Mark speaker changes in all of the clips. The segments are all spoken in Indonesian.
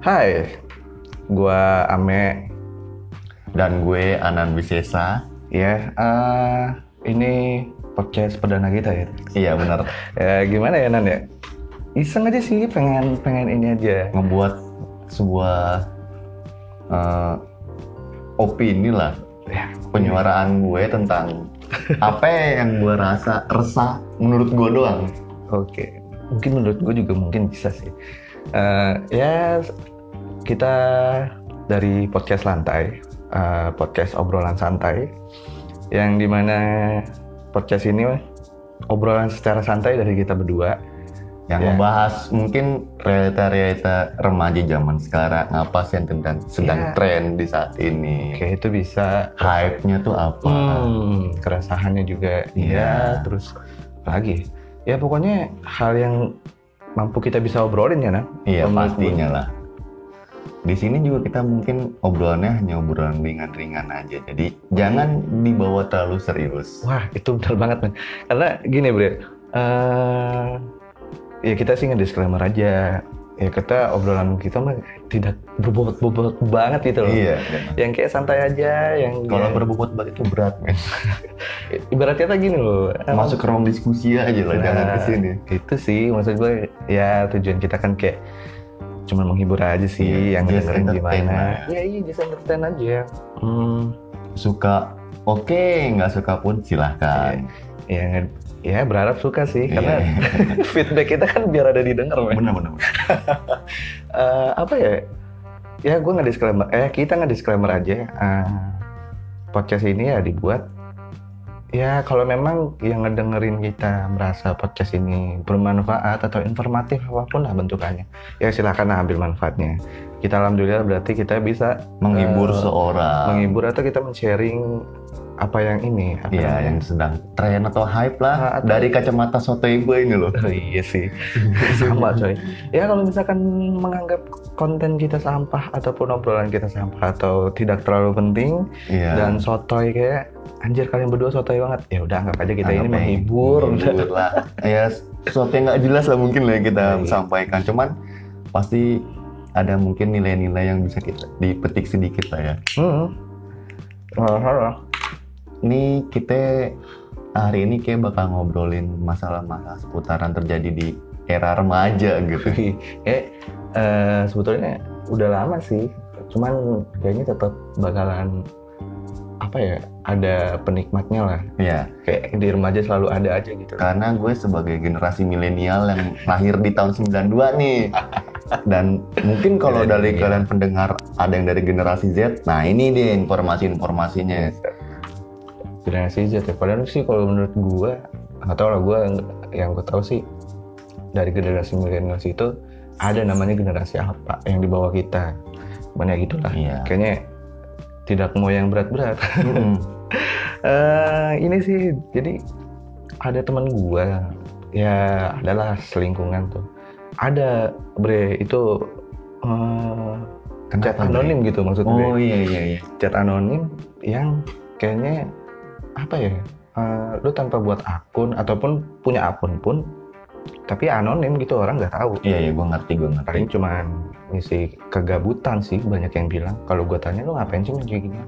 Speaker 1: Hai, gua Ame.
Speaker 2: Dan gue Anan Wisesa.
Speaker 1: Ya, eh, ini podcast perdana kita ya.
Speaker 2: Iya benar.
Speaker 1: Ya, gimana ya Nan ya? Iseng aja sih, pengen pengen ini aja.
Speaker 2: Ngebuat sebuah eh, opini lah
Speaker 1: Ya,
Speaker 2: penyuaraan gue tentang apa yang gue rasa resah menurut gue doang.
Speaker 1: Oke, mungkin menurut gue juga mungkin bisa sih. Eh, ya, kita dari podcast lantai, eh, podcast obrolan santai, yang dimana podcast ini obrolan secara santai dari kita berdua.
Speaker 2: Yang
Speaker 1: Ya.
Speaker 2: ngebahas mungkin realita-realita remaja zaman sekarang apa sih yang sedang, sedang
Speaker 1: Ya.
Speaker 2: tren di saat ini.
Speaker 1: Oke, itu bisa
Speaker 2: Hype-nya tuh apa?
Speaker 1: hmm, keresahannya juga. Iya,
Speaker 2: Iya.
Speaker 1: terus lagi. Ya pokoknya hal yang mampu kita bisa obrolin ya, Nan.
Speaker 2: Iya
Speaker 1: Menurut
Speaker 2: pastinya
Speaker 1: gue.
Speaker 2: lah. Di sini juga kita mungkin obrolannya hanya obrolan ringan-ringan aja. Jadi jangan dibawa terlalu serius.
Speaker 1: Wah, itu benar banget, men. Karena gini, Bre. eh, ya kita sih nge-disclaimer aja. Ya kita obrolan kita mah tidak berbobot-bobot banget gitu loh.
Speaker 2: Iya.
Speaker 1: Yang kayak santai aja, yang
Speaker 2: Kalau
Speaker 1: ya,
Speaker 2: berbobot banget itu berat, men.
Speaker 1: ibarat kata gini loh. emang-
Speaker 2: Masuk ke ruang diskusi aja
Speaker 1: Nah.
Speaker 2: lah, jangan ke sini.
Speaker 1: itu Gitu sih maksud gue ya tujuan kita kan kayak cuma menghibur aja sih
Speaker 2: Iya,
Speaker 1: yang
Speaker 2: just
Speaker 1: dengerin
Speaker 2: entertain
Speaker 1: gimana
Speaker 2: lah.
Speaker 1: ya iya just entertain aja hmm,
Speaker 2: Suka oke, nggak suka pun silahkan.
Speaker 1: ya nge- ya berharap suka sih karena
Speaker 2: Iya.
Speaker 1: feedback kita kan biar ada didengar men
Speaker 2: bener bener. bener.
Speaker 1: Eh, apa ya ya gue nggak disclaimer eh kita nggak disclaimer aja Eh, podcast ini ya dibuat ya kalau memang yang ngedengerin kita merasa podcast ini bermanfaat atau informatif apapun lah bentukannya ya silahkan ambil manfaatnya kita alhamdulillah berarti kita bisa
Speaker 2: Menghibur
Speaker 1: Eh,
Speaker 2: seorang.
Speaker 1: menghibur atau kita men-sharing apa yang ini apa
Speaker 2: Iya,
Speaker 1: namanya?
Speaker 2: yang sedang tren atau hype
Speaker 1: Nah,
Speaker 2: lah
Speaker 1: Atau-
Speaker 2: dari kacamata soto gue ini loh.
Speaker 1: Oh, iya sih sama coy ya kalau misalkan menganggap konten kita sampah ataupun obrolan kita sampah atau tidak terlalu penting
Speaker 2: Iya.
Speaker 1: dan sotoy kayak anjir kalian berdua sotoy banget ya udah anggap aja kita ini
Speaker 2: Anggap aja
Speaker 1: menghibur
Speaker 2: menghibur lah ya sesuatu yang nggak jelas lah mungkin lah yang kita
Speaker 1: Iya.
Speaker 2: sampaikan cuman pasti ada mungkin nilai-nilai yang bisa kita dipetik sedikit lah ya
Speaker 1: hmm. Halo, halo.
Speaker 2: ini kita hari ini kayak bakal ngobrolin masalah-masalah seputaran terjadi di era remaja gitu
Speaker 1: eh eh, sebetulnya udah lama sih cuman kayaknya tetap bakalan apa ya ada penikmatnya lah
Speaker 2: ya
Speaker 1: kayak di remaja selalu ada aja gitu
Speaker 2: karena gue sebagai generasi milenial yang lahir di tahun 92 nih dan mungkin kalau
Speaker 1: Iya,
Speaker 2: dari
Speaker 1: iya.
Speaker 2: kalian pendengar ada yang dari generasi Z nah ini deh informasi-informasinya
Speaker 1: generasi Z ya. Padahal sih kalau menurut gua nggak tau lah gua yang- yang gua tahu sih dari generasi milenial itu ada namanya generasi apa yang di bawah kita. Banyak gitulah.
Speaker 2: Iya.
Speaker 1: Kayaknya tidak mau yang berat-berat.
Speaker 2: Mm-mm.
Speaker 1: Eh, ini sih jadi ada teman gua ya adalah selingkungan tuh. Ada bre itu eh, chat
Speaker 2: Kenapa, Bre?
Speaker 1: anonim gitu maksudnya
Speaker 2: Oh iya iya iya.
Speaker 1: chat anonim yang kayaknya apa ya eh, lu tanpa buat akun ataupun punya akun pun tapi anonim gitu orang nggak tahu
Speaker 2: Iya iya gue ngerti gue ngerti.
Speaker 1: paling cuman ngisi kegabutan sih banyak yang bilang kalau gue tanya lu ngapain sih main kayak gini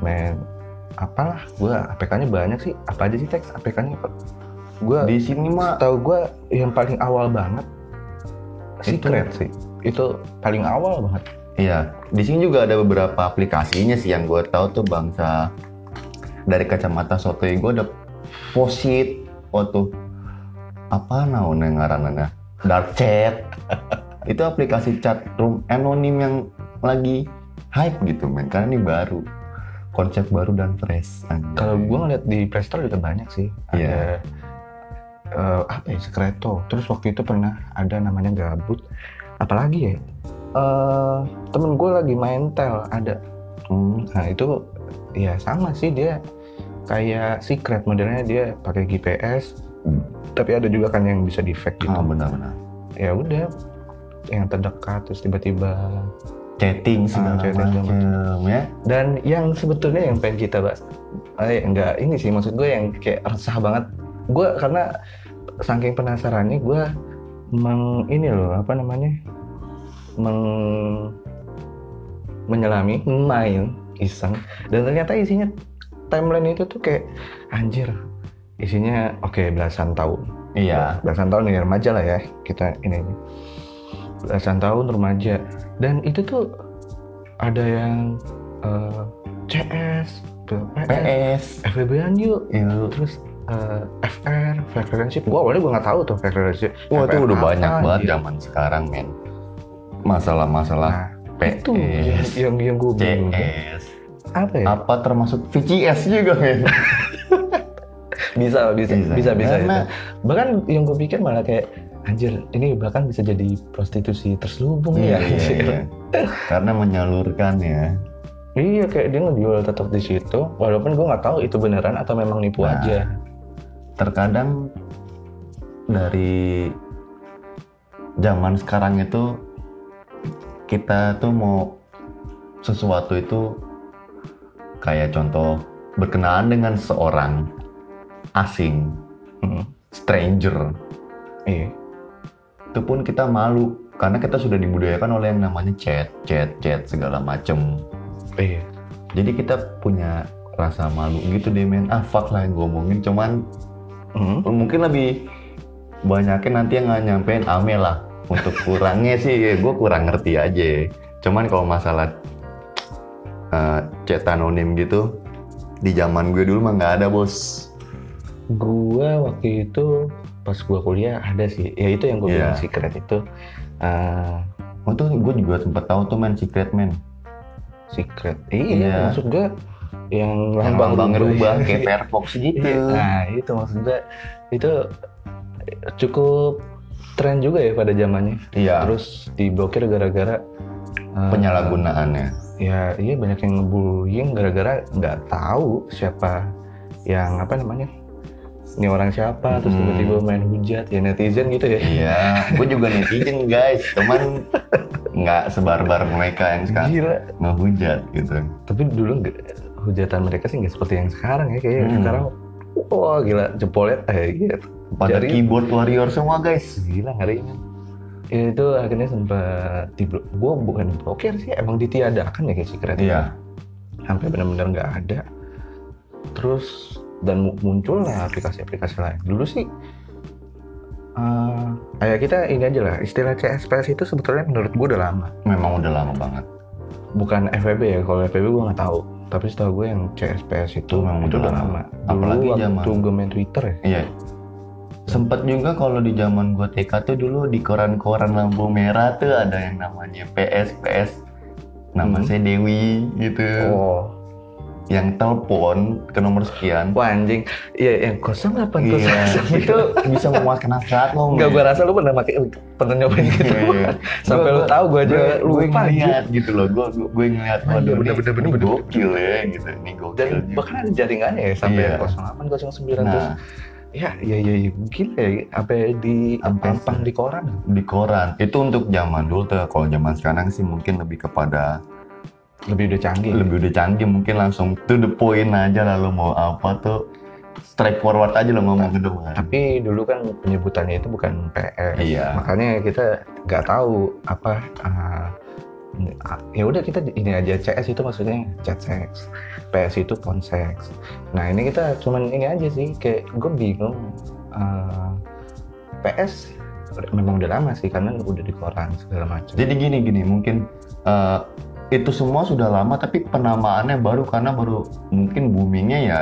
Speaker 1: main apalah gue APK-nya banyak sih apa aja sih teks APK-nya gue
Speaker 2: Di sini mah
Speaker 1: tahu gue yang paling awal banget secret sih itu paling awal banget
Speaker 2: iya, di sini juga ada beberapa aplikasinya sih yang gue tahu tuh bangsa dari kacamata soto gue ada posit waktu Oh, apa naon yang ngaranana dark chat itu aplikasi chat room anonim yang lagi hype gitu men karena ini baru konsep baru dan fresh anjay.
Speaker 1: Kalau gue ngeliat di Playstore juga banyak sih. Ada
Speaker 2: Iya.
Speaker 1: eh, apa ya Secreto. Terus waktu itu pernah ada namanya Gabut. Apalagi ya? Eh, temen gue lagi main tel ada.
Speaker 2: Hmm,
Speaker 1: Nah itu ya sama sih dia kayak secret modelnya dia pakai GPS. Tapi ada juga kan yang bisa di fake gitu.
Speaker 2: ah, benar-benar
Speaker 1: Ya udah yang terdekat terus tiba-tiba
Speaker 2: chatting segala
Speaker 1: chatting segala
Speaker 2: macam Ah, ya
Speaker 1: dan yang sebetulnya yang pengen kita bahas eh enggak ini sih maksud gue yang kayak resah banget gue karena saking penasarannya gue meng ini loh apa namanya meng- menyelami, main iseng dan ternyata isinya timeline itu tuh kayak anjir isinya oke belasan tahun
Speaker 2: Iya.
Speaker 1: belasan tahun ya remaja lah ya kita ini belasan tahun remaja dan itu tuh ada yang eh, CS PS
Speaker 2: PS.
Speaker 1: FWB an yuk
Speaker 2: Iya.
Speaker 1: terus eh, FR fake relationship gua awalnya gua nggak tahu tuh fake relationship
Speaker 2: Wah itu
Speaker 1: FR
Speaker 2: udah
Speaker 1: apa
Speaker 2: banyak banget
Speaker 1: gitu.
Speaker 2: zaman sekarang men. Masalah-masalah
Speaker 1: nah,
Speaker 2: PS,
Speaker 1: itu yang yang, yang gua bingung
Speaker 2: CS.
Speaker 1: apa ya
Speaker 2: Apa termasuk VCS juga men?
Speaker 1: bisa bisa
Speaker 2: Bisa.
Speaker 1: bisa bisa, bisa. Iya.
Speaker 2: Karena-
Speaker 1: bahkan yang gue pikir malah kayak anjir ini bahkan bisa jadi prostitusi terselubung ya
Speaker 2: Iya, iya, iya. Karena menyalurkan ya.
Speaker 1: iya kayak dia ngejual tetap di situ walaupun gue nggak tahu itu beneran atau memang nipu
Speaker 2: Nah.
Speaker 1: aja
Speaker 2: Terkadang dari zaman sekarang itu kita tuh mau sesuatu itu kayak contoh berkenaan dengan seorang asing,
Speaker 1: Mm,
Speaker 2: stranger.
Speaker 1: iya
Speaker 2: Itu pun kita malu karena kita sudah dibudayakan oleh yang namanya chat, chat, chat segala macem.
Speaker 1: iya
Speaker 2: Jadi kita punya rasa malu gitu deh men. Ah fuck lah yang ngomongin cuman
Speaker 1: Mm,
Speaker 2: mungkin lebih banyakin nanti yang nggak nyampein ame lah. Untuk kurangnya sih gue kurang ngerti aja. Cuman kalau masalah eh, chat anonim gitu di zaman gue dulu mah nggak ada bos.
Speaker 1: gue waktu itu pas gue kuliah ada sih ya itu yang gue
Speaker 2: Iya.
Speaker 1: bilang secret itu eh,
Speaker 2: Oh tuh gue juga sempet tahu tuh men secret men.
Speaker 1: secret
Speaker 2: Iya.
Speaker 1: iya maksud gue yang
Speaker 2: Yang ya.
Speaker 1: lambang,
Speaker 2: lambang
Speaker 1: rubah
Speaker 2: rubah kayak Firefox gitu.
Speaker 1: Iya, Nah itu maksudnya itu cukup tren juga ya pada zamannya.
Speaker 2: Iya.
Speaker 1: Terus diblokir gara-gara eh,
Speaker 2: Penyalahgunaannya.
Speaker 1: Ya iya banyak yang ngebullying gara-gara nggak tahu siapa yang apa namanya ini orang siapa terus
Speaker 2: Hmm.
Speaker 1: tiba-tiba main hujat ya netizen gitu ya.
Speaker 2: Iya, gue juga netizen guys, cuman nggak sebarbar mereka yang sekarang
Speaker 1: Gila.
Speaker 2: ngehujat gitu.
Speaker 1: Tapi dulu nggak hujatan mereka sih nggak seperti yang sekarang ya kayaknya
Speaker 2: Hmm.
Speaker 1: sekarang wah gila jempolnya eh, iya,
Speaker 2: Pada
Speaker 1: jari-
Speaker 2: keyboard warrior semua guys.
Speaker 1: Gila ngerinya. Ya, itu akhirnya sempat di gue bukan blokir sih emang ditiadakan ya kayak secret
Speaker 2: Iya,
Speaker 1: sampai benar-benar nggak ada terus dan mu- muncullah aplikasi-aplikasi lain dulu sih eh kayak kita ini aja lah istilah CSPS itu sebetulnya menurut gue udah lama
Speaker 2: memang udah lama banget.
Speaker 1: bukan FVB ya kalau FVB gue nggak tahu tapi setahu gue yang CSPS itu
Speaker 2: Memang
Speaker 1: itu udah
Speaker 2: udah lama.
Speaker 1: lama dulu
Speaker 2: Apalagi
Speaker 1: waktu
Speaker 2: zaman-
Speaker 1: gue main Twitter ya
Speaker 2: Iya. Sempet juga kalau di zaman gue TK tuh dulu di koran-koran lampu merah tuh ada yang namanya PS PS.
Speaker 1: Hmm.
Speaker 2: Nama saya Dewi gitu.
Speaker 1: oh
Speaker 2: Yang telepon ke nomor sekian.
Speaker 1: wah anjing iya yang kosong apa
Speaker 2: Iya, itu bisa memuaskan hasrat lo.
Speaker 1: Enggak
Speaker 2: men.
Speaker 1: gue rasa lu pernah pakai pernah nyobain gitu.
Speaker 2: Iya.
Speaker 1: Sampai lu
Speaker 2: Gua-
Speaker 1: tahu gue aja
Speaker 2: Gua- gua
Speaker 1: lupa anjing.
Speaker 2: ngeliat gitu loh gue gue ngeliat
Speaker 1: Oh, iya, bener, bener, bener,
Speaker 2: ini
Speaker 1: bener.
Speaker 2: gokil ya gitu ini gokil
Speaker 1: Dan bahkan ada jaringannya ya sampai
Speaker 2: Iya.
Speaker 1: 08 09 terus
Speaker 2: nah
Speaker 1: ya ya ya, ya gila ya sampai di
Speaker 2: Sampai
Speaker 1: pampang di koran.
Speaker 2: di koran itu untuk zaman dulu tuh kalau zaman sekarang sih mungkin lebih kepada
Speaker 1: Lebih udah canggih.
Speaker 2: lebih udah canggih mungkin langsung to the point aja lah lo mau apa tuh straightforward aja lo ngomong ke depan
Speaker 1: Tapi dulu kan penyebutannya itu bukan PS.
Speaker 2: Iya.
Speaker 1: Makanya kita nggak tahu apa ah, ya udah kita ini aja CS itu maksudnya chat sex PS itu phone sex nah ini kita cuman ini aja sih kayak gue bingung ah, PS memang udah lama sih karena udah di koran segala macam
Speaker 2: jadi gini gini mungkin eh, itu semua sudah lama tapi penamaannya baru karena baru mungkin boomingnya ya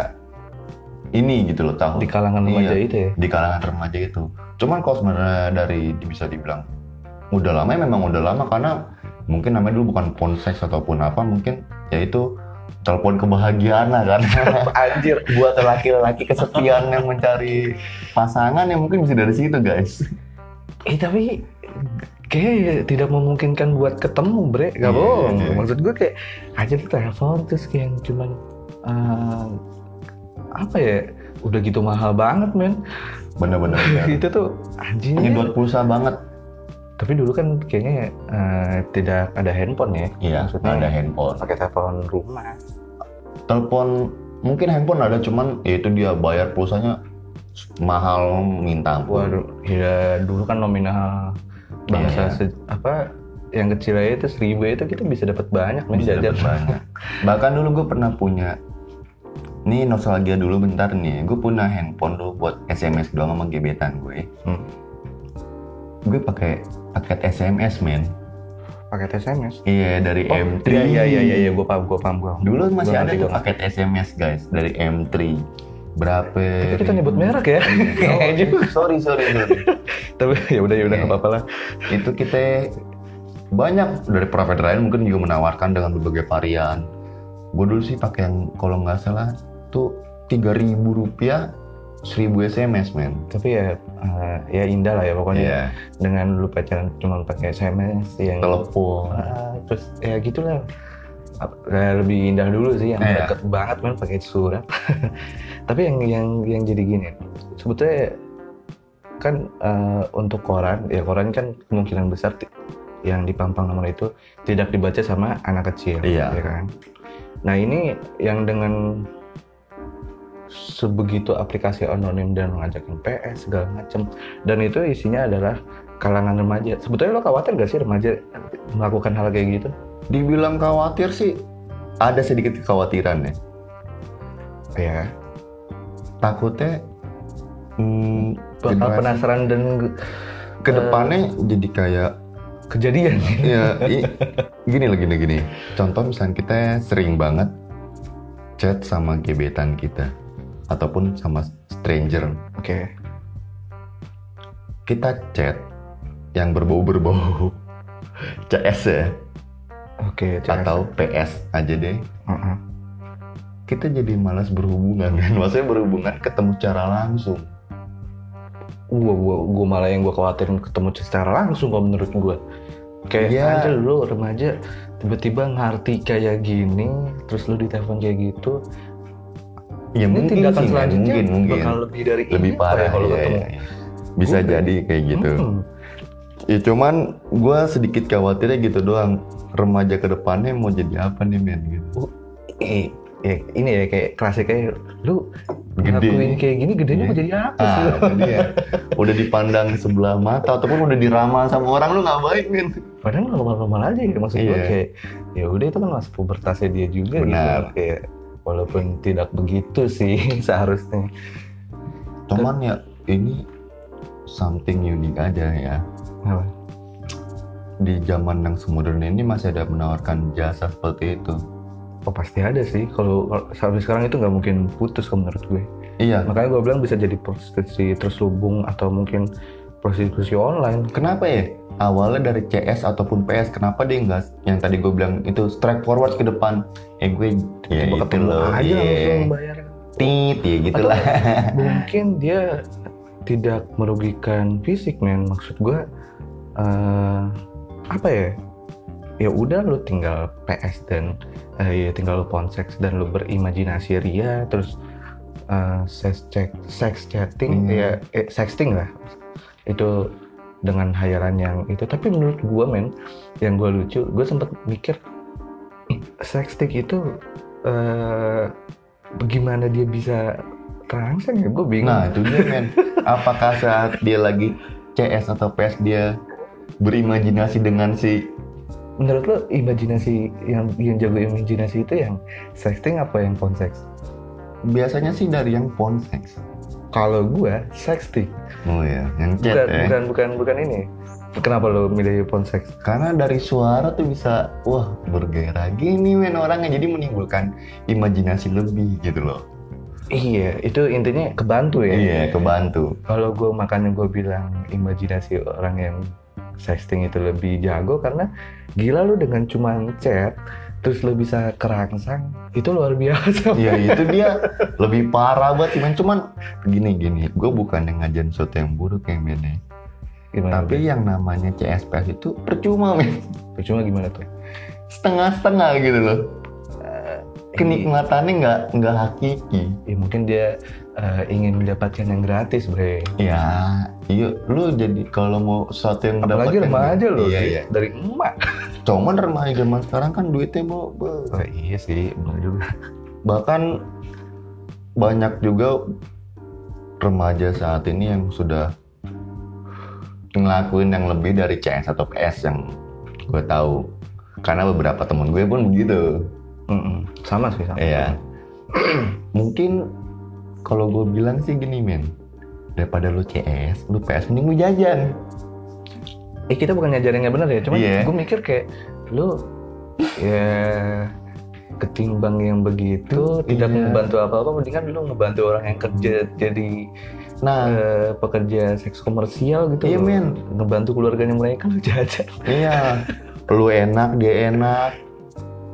Speaker 2: ini gitu loh tahun
Speaker 1: di kalangan remaja
Speaker 2: Iya.
Speaker 1: itu ya
Speaker 2: di kalangan remaja itu. Cuman kalau sebenarnya dari bisa dibilang udah lama ya memang udah lama karena mungkin namanya dulu bukan phone sex ataupun apa mungkin yaitu telepon kebahagiaan lah kan
Speaker 1: anjir
Speaker 2: buat laki-laki kesepian yang mencari pasangan yang mungkin bisa dari situ guys
Speaker 1: eh tapi kayak tidak memungkinkan buat ketemu bre
Speaker 2: Iya,
Speaker 1: gak bohong
Speaker 2: iya.
Speaker 1: maksud gue kayak aja tuh telepon terus kayak yang cuman ah, apa ya udah gitu mahal banget men
Speaker 2: bener-bener
Speaker 1: itu tuh anjingnya
Speaker 2: nyedot pulsa banget
Speaker 1: tapi dulu kan kayaknya eh, tidak ada handphone ya
Speaker 2: iya
Speaker 1: Maksudnya-
Speaker 2: ada handphone
Speaker 1: pakai telepon rumah
Speaker 2: telepon mungkin handphone ada cuman ya itu dia bayar pulsanya mahal minta ampun
Speaker 1: waduh ya dulu kan nominal bangsa
Speaker 2: Hmm. Iya.
Speaker 1: se- apa yang kecil aja itu seribu aja itu kita bisa dapat banyak men
Speaker 2: bisa
Speaker 1: jajan.
Speaker 2: dapat banyak. Bahkan dulu gue pernah punya nih nostalgia dulu bentar nih. Gue punya handphone dulu buat SMS doang sama gebetan gue.
Speaker 1: Hmm.
Speaker 2: Gue pakai paket SMS men.
Speaker 1: paket SMS
Speaker 2: Iya dari
Speaker 1: Oh,
Speaker 2: M3.
Speaker 1: iya iya iya iya iya, gua paham gua paham gua paham.
Speaker 2: Dulu masih
Speaker 1: Gua
Speaker 2: ada
Speaker 1: ngerti,
Speaker 2: tuh
Speaker 1: gua ngerti.
Speaker 2: paket SMS guys dari M3. Berapa?
Speaker 1: Tapi kita
Speaker 2: ribu?
Speaker 1: nyebut merek ya
Speaker 2: Oh, Iya. sorry sorry sorry.
Speaker 1: tapi ya udah ya udah nggak apa-apa lah
Speaker 2: Itu kita banyak dari provider lain mungkin juga menawarkan dengan berbagai varian. Gue dulu sih pakai yang kalau nggak salah tuh tiga ribu rupiah seribu SMS men. Iya.
Speaker 1: tapi ya eh, ya indah lah ya pokoknya dengan lu pacaran cuma pakai SMS yang
Speaker 2: Telepon.
Speaker 1: Ah, terus ya gitulah Ap- ya, lebih indah dulu sih yang
Speaker 2: Iya.
Speaker 1: deket banget kan pakai surat tapi yang yang yang jadi gini sebetulnya kan eh, untuk koran ya koran kan kemungkinan besar ti- yang di pampang nomor itu tidak dibaca sama anak kecil
Speaker 2: Iya.
Speaker 1: ya kan nah ini yang dengan sebegitu aplikasi anonim dan ngajakin PS segala macem dan itu isinya adalah kalangan remaja sebetulnya lo khawatir gak sih remaja melakukan hal kayak gitu
Speaker 2: Dibilang khawatir sih ada sedikit kekhawatiran ya. Iya.
Speaker 1: ya
Speaker 2: Takutnya hmm,
Speaker 1: bakal
Speaker 2: generasi
Speaker 1: penasaran dan ge-
Speaker 2: kedepannya jadi kayak
Speaker 1: kejadian
Speaker 2: ya i- gini loh gini gini contoh misalnya kita sering banget chat sama gebetan kita ataupun sama stranger
Speaker 1: oke
Speaker 2: kita chat yang berbau berbau CS ya
Speaker 1: oke Cak.
Speaker 2: atau PS aja deh
Speaker 1: Mm-mm.
Speaker 2: kita jadi malas berhubungan kan maksudnya berhubungan ketemu secara langsung
Speaker 1: gua, gua, gua malah yang gua khawatirin ketemu secara langsung kalau menurut gua kayak
Speaker 2: Iya.
Speaker 1: aja lu remaja tiba-tiba ngerti kayak gini terus lu ditelepon kayak gitu
Speaker 2: ya
Speaker 1: ini
Speaker 2: mungkin
Speaker 1: tindakan
Speaker 2: sih, men.
Speaker 1: selanjutnya
Speaker 2: mungkin mungkin
Speaker 1: bakal lebih dari
Speaker 2: lebih
Speaker 1: ini apa
Speaker 2: parah
Speaker 1: ya kalau
Speaker 2: iya,
Speaker 1: ketemu
Speaker 2: iya, iya. bisa
Speaker 1: Mungkin.
Speaker 2: jadi kayak gitu
Speaker 1: Hmm.
Speaker 2: Ya cuman gue sedikit khawatirnya gitu doang. Remaja kedepannya mau jadi apa nih men? Gitu.
Speaker 1: Eh, ya, ini ya kayak klasik kayak lu
Speaker 2: Gede.
Speaker 1: ngelakuin kayak gini gedenya mau
Speaker 2: Iya.
Speaker 1: jadi apa sih
Speaker 2: Ah, itu dia. Udah dipandang sebelah mata ataupun udah diramal sama orang lu nggak baik men.
Speaker 1: padahal normal-normal aja ya maksud gua
Speaker 2: Iya.
Speaker 1: kayak ya udah itu kan masuk pubertasnya dia juga
Speaker 2: Benar.
Speaker 1: gitu kayak walaupun tidak begitu sih seharusnya
Speaker 2: Cuman ya ini something unique aja ya.
Speaker 1: Apa?
Speaker 2: Di zaman yang semodern ini masih ada menawarkan jasa seperti itu.
Speaker 1: oh pasti ada sih kalau kalau sampai sekarang itu nggak mungkin putus kalau menurut gue
Speaker 2: Iya.
Speaker 1: makanya gue bilang bisa jadi prostitusi terselubung atau mungkin prostitusi online
Speaker 2: Kenapa ya? Awalnya dari CS ataupun PS, kenapa dia nggak yang tadi gue bilang itu strike forward ke depan? Eh gue ya
Speaker 1: Coba
Speaker 2: itu
Speaker 1: ketemu
Speaker 2: loh.
Speaker 1: aja
Speaker 2: iya.
Speaker 1: langsung bayar
Speaker 2: Tit ya gitu
Speaker 1: Atau-
Speaker 2: lah.
Speaker 1: mungkin dia tidak merugikan fisik men maksud gua eh, apa ya ya udah lu tinggal PS dan eh, ya tinggal lu ponseks dan lu berimajinasi ria terus eh, sex check sex chatting
Speaker 2: Hmm.
Speaker 1: ya eh, sexting lah itu dengan hayalan yang itu tapi menurut gua men yang gua lucu gue sempet mikir sexting itu eh bagaimana dia bisa terangsang ya gue bingung
Speaker 2: Nah, itu dia men. Apakah saat dia lagi CS atau PS dia berimajinasi dengan si
Speaker 1: menurut lo imajinasi yang yang jago imajinasi itu yang sexting apa yang ponsex
Speaker 2: biasanya sih dari yang phone sex.
Speaker 1: kalau gue sexting
Speaker 2: Oh ya, yang chat
Speaker 1: bukan
Speaker 2: ya.
Speaker 1: bukan bukan bukan ini kenapa lo milih ponsex
Speaker 2: Karena dari suara tuh bisa wah bergairah gini men orangnya jadi menimbulkan imajinasi lebih gitu loh.
Speaker 1: iya itu intinya kebantu ya
Speaker 2: Iya, kebantu.
Speaker 1: kalau gue makanya gue bilang imajinasi orang yang sexting itu lebih jago karena gila lu dengan cuman chat terus lu bisa kerangsang itu luar biasa
Speaker 2: Iya itu dia lebih parah banget sih men. Cuman gini gini, gue bukan yang ngajarin sesuatu yang buruk ya men. ya.
Speaker 1: gimana
Speaker 2: Tapi yang namanya CSPS itu percuma men.
Speaker 1: tuh? cuma gimana tuh
Speaker 2: setengah-setengah gitu loh kenikmatannya nggak nggak hakiki
Speaker 1: ya mungkin dia eh, ingin mendapatkan yang gratis bre
Speaker 2: ya iya lu jadi kalau mau sesuatu yang
Speaker 1: apalagi
Speaker 2: mendapatkan-
Speaker 1: remaja loh
Speaker 2: iya
Speaker 1: dari-
Speaker 2: iya
Speaker 1: dari emak
Speaker 2: cuman remaja zaman sekarang kan duitnya mau be-
Speaker 1: oh, iya sih benar juga
Speaker 2: bahkan banyak juga remaja saat ini yang sudah ngelakuin yang lebih dari CS atau PS yang gue tahu karena beberapa temen gue pun begitu
Speaker 1: Mm-mm. sama sih sama.
Speaker 2: Iya. Mungkin kalau gue bilang sih gini men, daripada lu CS, lu PS mending lu jajan.
Speaker 1: Eh kita bukan ngajarin yang benar ya, cuman
Speaker 2: Iya.
Speaker 1: gue mikir kayak lu ya ketimbang yang begitu tidak
Speaker 2: Iya.
Speaker 1: membantu apa-apa mendingan lu ngebantu orang yang kerja jadi
Speaker 2: Nah,
Speaker 1: eh, pekerja seks komersial gitu
Speaker 2: Iya,
Speaker 1: loh.
Speaker 2: men.
Speaker 1: ngebantu keluarganya mereka kan lu jajan
Speaker 2: iya. Lu enak, dia enak.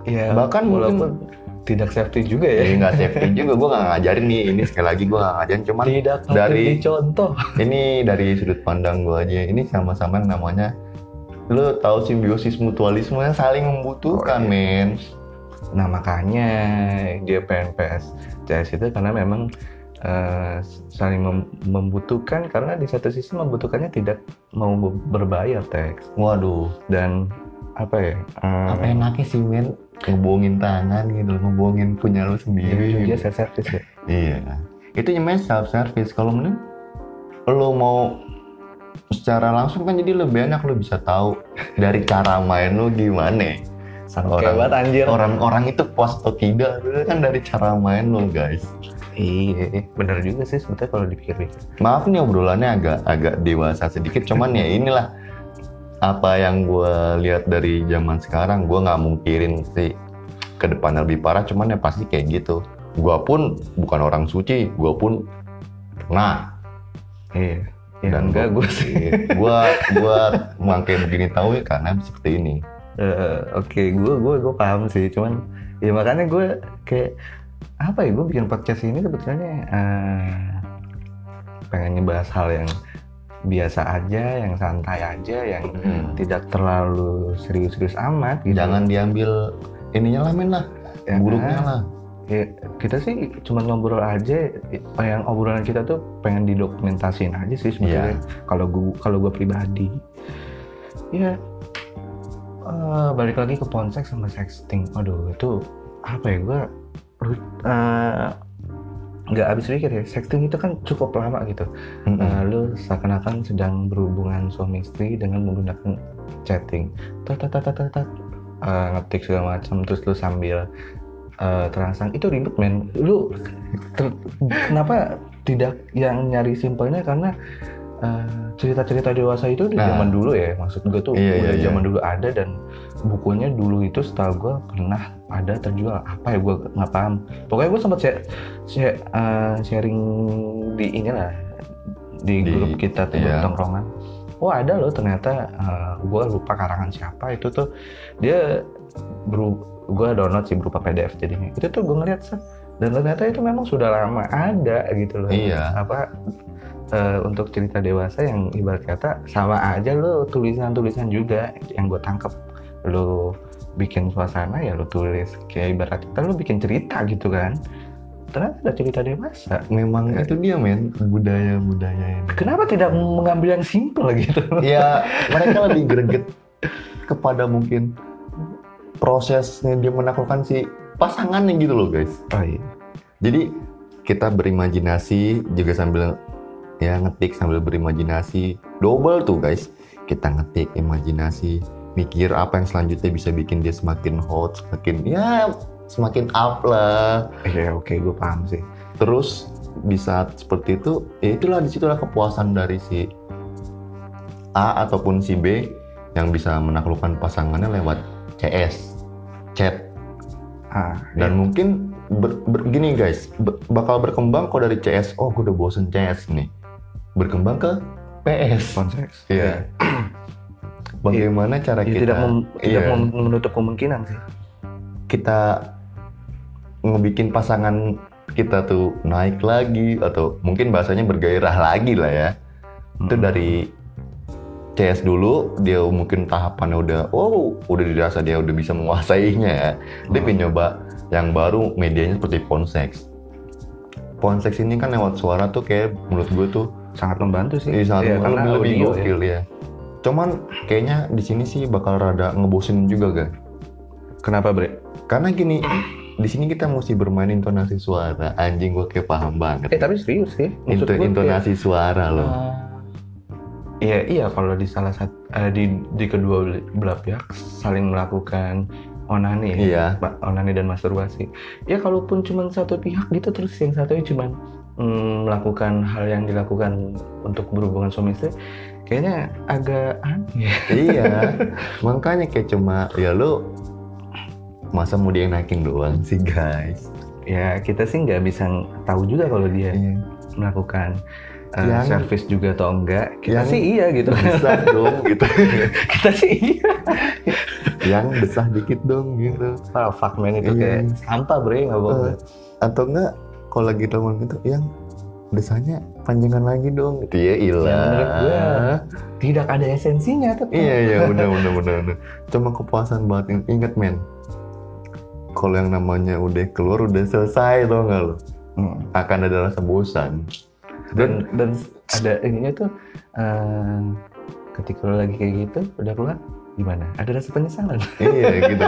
Speaker 1: ya
Speaker 2: Bahkan
Speaker 1: walaupun tidak safety juga ya
Speaker 2: Ini nggak safety juga, gue nggak ngajarin nih. Ini sekali lagi gue nggak ngajarin, cuman
Speaker 1: tidak
Speaker 2: dari-
Speaker 1: dari contoh
Speaker 2: ini dari sudut pandang gue aja. Ini sama-sama namanya lu tahu simbiosis mutualisme yang saling
Speaker 1: Oh,
Speaker 2: membutuhkan,
Speaker 1: iya.
Speaker 2: men.
Speaker 1: Nah makanya dia PNPS CS itu karena memang eh, saling mem- membutuhkan karena di satu sisi membutuhkannya tidak mau be- berbayar teks
Speaker 2: Waduh,
Speaker 1: dan apa ya? eh,
Speaker 2: apa enaknya sih, men? Ngebohongin tangan gitu, ngebohongin punya lu
Speaker 1: Jadi
Speaker 2: sendiri.
Speaker 1: dia self service ya.
Speaker 2: Iya. Itu namanya self service. Kalau mending lo mau secara langsung kan jadi lebih enak lo bisa tahu dari cara main lo gimana.
Speaker 1: Sangke
Speaker 2: Orang-
Speaker 1: banget anjir.
Speaker 2: Orang-orang itu puas atau tidak itu kan dari cara main lo guys.
Speaker 1: Iya, bener juga sih sebetulnya kalau dipikir-pikir.
Speaker 2: Maaf nih obrolannya agak agak dewasa sedikit cuman ya inilah apa yang gue lihat dari zaman sekarang gue nggak mungkirin sih ke depannya lebih parah cuman ya pasti kayak gitu gue pun bukan orang suci gue pun pernah
Speaker 1: Iya. Ya,
Speaker 2: Dan
Speaker 1: enggak
Speaker 2: gua-
Speaker 1: gue sih.
Speaker 2: gua gua makin begini tahu ya karena seperti ini
Speaker 1: Eh, Oke, gue gue gue paham sih, cuman ya makanya gue kayak apa ya gue bikin podcast ini sebetulnya eh, pengen ngebahas hal yang biasa aja, yang santai aja, yang tidak terlalu serius-serius amat. Gitu.
Speaker 2: jangan diambil ininya lah men lah
Speaker 1: Ya
Speaker 2: buruknya
Speaker 1: kan?
Speaker 2: lah
Speaker 1: Ya, kita sih cuma ngobrol aja, eh, yang obrolan kita tuh pengen didokumentasiin aja sih sebetulnya. Kalau gue kalau gue pribadi, ya eh, balik lagi ke ponsek sama sexting. Aduh itu apa ya gue nggak habis pikir ya sexting itu kan cukup lama gitu.
Speaker 2: Mm-mm.
Speaker 1: Nah, lu seakan-akan sedang berhubungan suami istri dengan menggunakan chatting. Tat tat tat tat tat. Eh, ngetik segala macam terus lu sambil eh, terangsang itu ribet men. Lu ter- kenapa tidak yang nyari simpelnya karena eh, cerita-cerita dewasa itu di
Speaker 2: Nah.
Speaker 1: zaman dulu ya maksud gue tuh
Speaker 2: Iya,
Speaker 1: udah
Speaker 2: iya,
Speaker 1: zaman dulu ada dan bukunya dulu itu setahu gue pernah ada terjual apa ya gue nggak paham pokoknya gue sempat share, share- eh, sharing di inilah di,
Speaker 2: Di-
Speaker 1: grup kita tuh
Speaker 2: iya.
Speaker 1: tongkrongan oh ada loh ternyata gue lupa karangan siapa itu tuh dia gue download sih berupa PDF jadinya itu tuh gue ngeliat Seth. dan ternyata itu memang sudah lama ada gitu loh
Speaker 2: Iya.
Speaker 1: apa eh, untuk cerita dewasa yang ibarat kata sama aja lo tulisan-tulisan juga yang gue tangkep lo bikin suasana ya lo tulis kayak ibarat kata lo bikin cerita gitu kan ternyata ada cerita dewasa
Speaker 2: memang itu dia men budaya budaya ini
Speaker 1: kenapa tidak mengambil yang simple gitu
Speaker 2: ya mereka lebih greget kepada mungkin prosesnya dia menaklukkan si pasangannya gitu loh guys
Speaker 1: oh iya
Speaker 2: jadi kita berimajinasi juga sambil ya ngetik sambil berimajinasi double tuh guys kita ngetik imajinasi mikir apa yang selanjutnya bisa bikin dia semakin hot semakin ya semakin up lah
Speaker 1: iya oke gue paham sih
Speaker 2: terus di saat seperti itu ya itulah disitulah kepuasan dari si A ataupun si B yang bisa menaklukkan pasangannya lewat CS chat
Speaker 1: ah
Speaker 2: dan mungkin ber- ber- gini guys be- bakal berkembang kok dari CS oh gue udah bosen CS nih berkembang ke PS
Speaker 1: konseks
Speaker 2: Iya. bagaimana cara
Speaker 1: Ya,
Speaker 2: kita
Speaker 1: tidak mem- tidak
Speaker 2: Iya.
Speaker 1: mem- menutup kemungkinan sih
Speaker 2: kita ngebikin pasangan kita tuh naik lagi atau mungkin bahasanya bergairah lagi lah ya itu dari CS dulu dia mungkin tahapannya udah oh udah dirasa dia udah bisa menguasainya ya dia
Speaker 1: Hmm.
Speaker 2: pengen nyoba yang baru medianya seperti ponseks ponseks ini kan lewat suara tuh kayak menurut gue tuh
Speaker 1: sangat membantu sih
Speaker 2: Iya, saat
Speaker 1: Iya,
Speaker 2: itu lebih, lebih
Speaker 1: audio ya.
Speaker 2: gokil ya. Cuman kayaknya di sini sih bakal rada ngebosin juga kan.
Speaker 1: kenapa bre
Speaker 2: Karena gini, di sini kita mesti bermain intonasi suara. Anjing gue kayak paham banget.
Speaker 1: eh tapi serius sih
Speaker 2: Itu
Speaker 1: gua Eh, kayak,
Speaker 2: intonasi suara loh.
Speaker 1: eh, Iya iya kalau di salah satu di di kedua belah pihak saling melakukan onani ya.
Speaker 2: Iya.
Speaker 1: Ma- onani dan masturbasi. Ya kalaupun cuma satu pihak gitu terus yang satunya cuma melakukan hal yang dilakukan untuk berhubungan suami istri, kayaknya agak aneh.
Speaker 2: iya makanya kayak cuma ya lu masa mau dia yang naikin doang sih guys
Speaker 1: Ya kita sih nggak bisa tahu juga kalau dia
Speaker 2: Iya.
Speaker 1: melakukan eh,
Speaker 2: Yang-
Speaker 1: service juga atau enggak. Kita
Speaker 2: yang-
Speaker 1: sih iya gitu.
Speaker 2: besah dong gitu
Speaker 1: kita sih iya.
Speaker 2: yang besah dikit dong gitu
Speaker 1: Ah, fuck man itu
Speaker 2: Iya.
Speaker 1: kayak sampah bre nggak
Speaker 2: Eh,
Speaker 1: boleh.
Speaker 2: atau enggak kalau lagi telepon gitu yang desanya panjangan lagi dong gitu ya
Speaker 1: Ya, menurut gua
Speaker 2: ilah
Speaker 1: tidak ada esensinya tapi
Speaker 2: iya iya bener bener bener bener. cuma kepuasan banget In- ingat men kalau yang namanya udah keluar udah selesai tau nggak lo akan ada rasa bosan dan
Speaker 1: Hmm. dan dan ada ininya tuh eh, ketika lo lagi kayak gitu udah keluar gimana ada rasa penyesalan
Speaker 2: iya gitu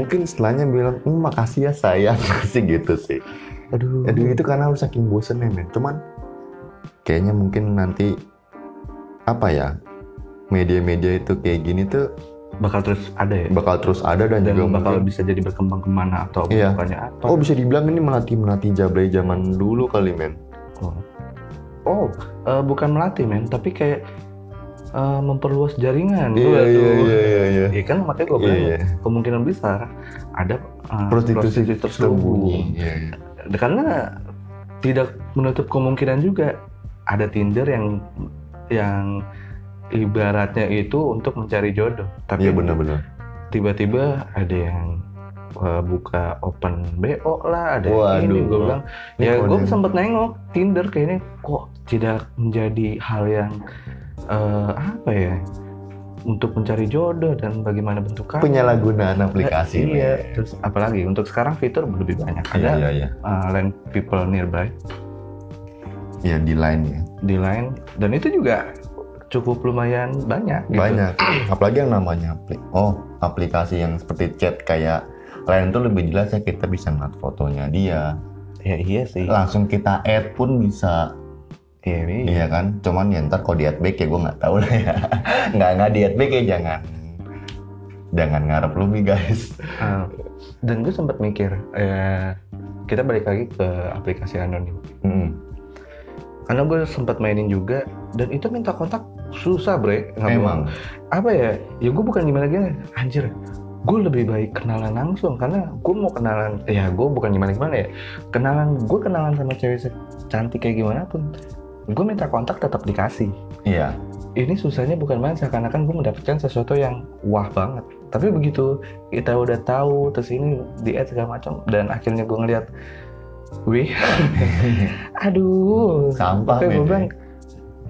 Speaker 2: mungkin setelahnya bilang "Hmm, makasih ya sayang sih gitu sih
Speaker 1: aduh
Speaker 2: Aduh itu karena lu saking bosennya men. Cuman kayaknya mungkin nanti apa ya media-media itu kayak gini tuh
Speaker 1: bakal terus ada ya
Speaker 2: bakal terus ada dan,
Speaker 1: dan
Speaker 2: juga
Speaker 1: bakal
Speaker 2: bakal
Speaker 1: bisa jadi berkembang kemana atau
Speaker 2: Iya.
Speaker 1: bukannya apa
Speaker 2: oh bisa dibilang ini melatih melatih jablay zaman dulu kali men.
Speaker 1: oh, Oh, eh, bukan melatih men tapi kayak eh, memperluas jaringan
Speaker 2: Iya
Speaker 1: Gua
Speaker 2: iya
Speaker 1: tuh.
Speaker 2: iya iya. iya.
Speaker 1: Iya kan makanya gue
Speaker 2: Iya,
Speaker 1: bilang
Speaker 2: iya.
Speaker 1: kemungkinan besar ada eh,
Speaker 2: Prostitusi
Speaker 1: terselubung.
Speaker 2: tersembunyi. Iya, iya.
Speaker 1: karena tidak menutup kemungkinan juga ada Tinder yang yang ibaratnya itu untuk mencari jodoh tapi
Speaker 2: Iya benar-benar.
Speaker 1: tiba-tiba ada yang uh, buka open BO lah ada yang ini
Speaker 2: Waduh.
Speaker 1: gue bilang
Speaker 2: Ini
Speaker 1: ya
Speaker 2: kode.
Speaker 1: gue sempet nengok Tinder kayaknya kok tidak menjadi hal yang uh, apa ya untuk mencari jodoh dan bagaimana bentukannya
Speaker 2: Penyalahgunaan aplikasi. men.
Speaker 1: iya terus apalagi untuk sekarang fitur lebih banyak ada
Speaker 2: Iya iya iya.
Speaker 1: uh, land people nearby
Speaker 2: Iya di line ya.
Speaker 1: di line dan itu juga cukup lumayan banyak gitu.
Speaker 2: Banyak. Apalagi yang namanya apli- oh aplikasi yang seperti chat kayak lain tuh lebih jelas ya kita bisa ngeliat fotonya dia,
Speaker 1: ya iya sih
Speaker 2: langsung kita add pun bisa
Speaker 1: iya, iya.
Speaker 2: iya kan cuman ya ntar kalau di add back ya gue nggak tahu lah ya nggak nggak di add back ya jangan jangan ngarep lu nih guys
Speaker 1: Uh, dan gue sempat mikir eh, kita balik lagi ke aplikasi anonim
Speaker 2: Mm.
Speaker 1: karena gue sempat mainin juga dan itu minta kontak susah bre Nggak
Speaker 2: emang
Speaker 1: bohong. apa ya ya gue bukan gimana gimana anjir gue lebih baik kenalan langsung karena gue mau kenalan ya gue bukan gimana gimana ya kenalan gue kenalan sama cewek cantik kayak gimana pun gue minta kontak tetap dikasih
Speaker 2: iya
Speaker 1: ini susahnya bukan main seakan-akan gue mendapatkan sesuatu yang wah banget tapi begitu kita udah tahu terus ini di add segala macam dan akhirnya gue ngeliat wih aduh
Speaker 2: Sampah,
Speaker 1: Makanya gue
Speaker 2: men.
Speaker 1: bilang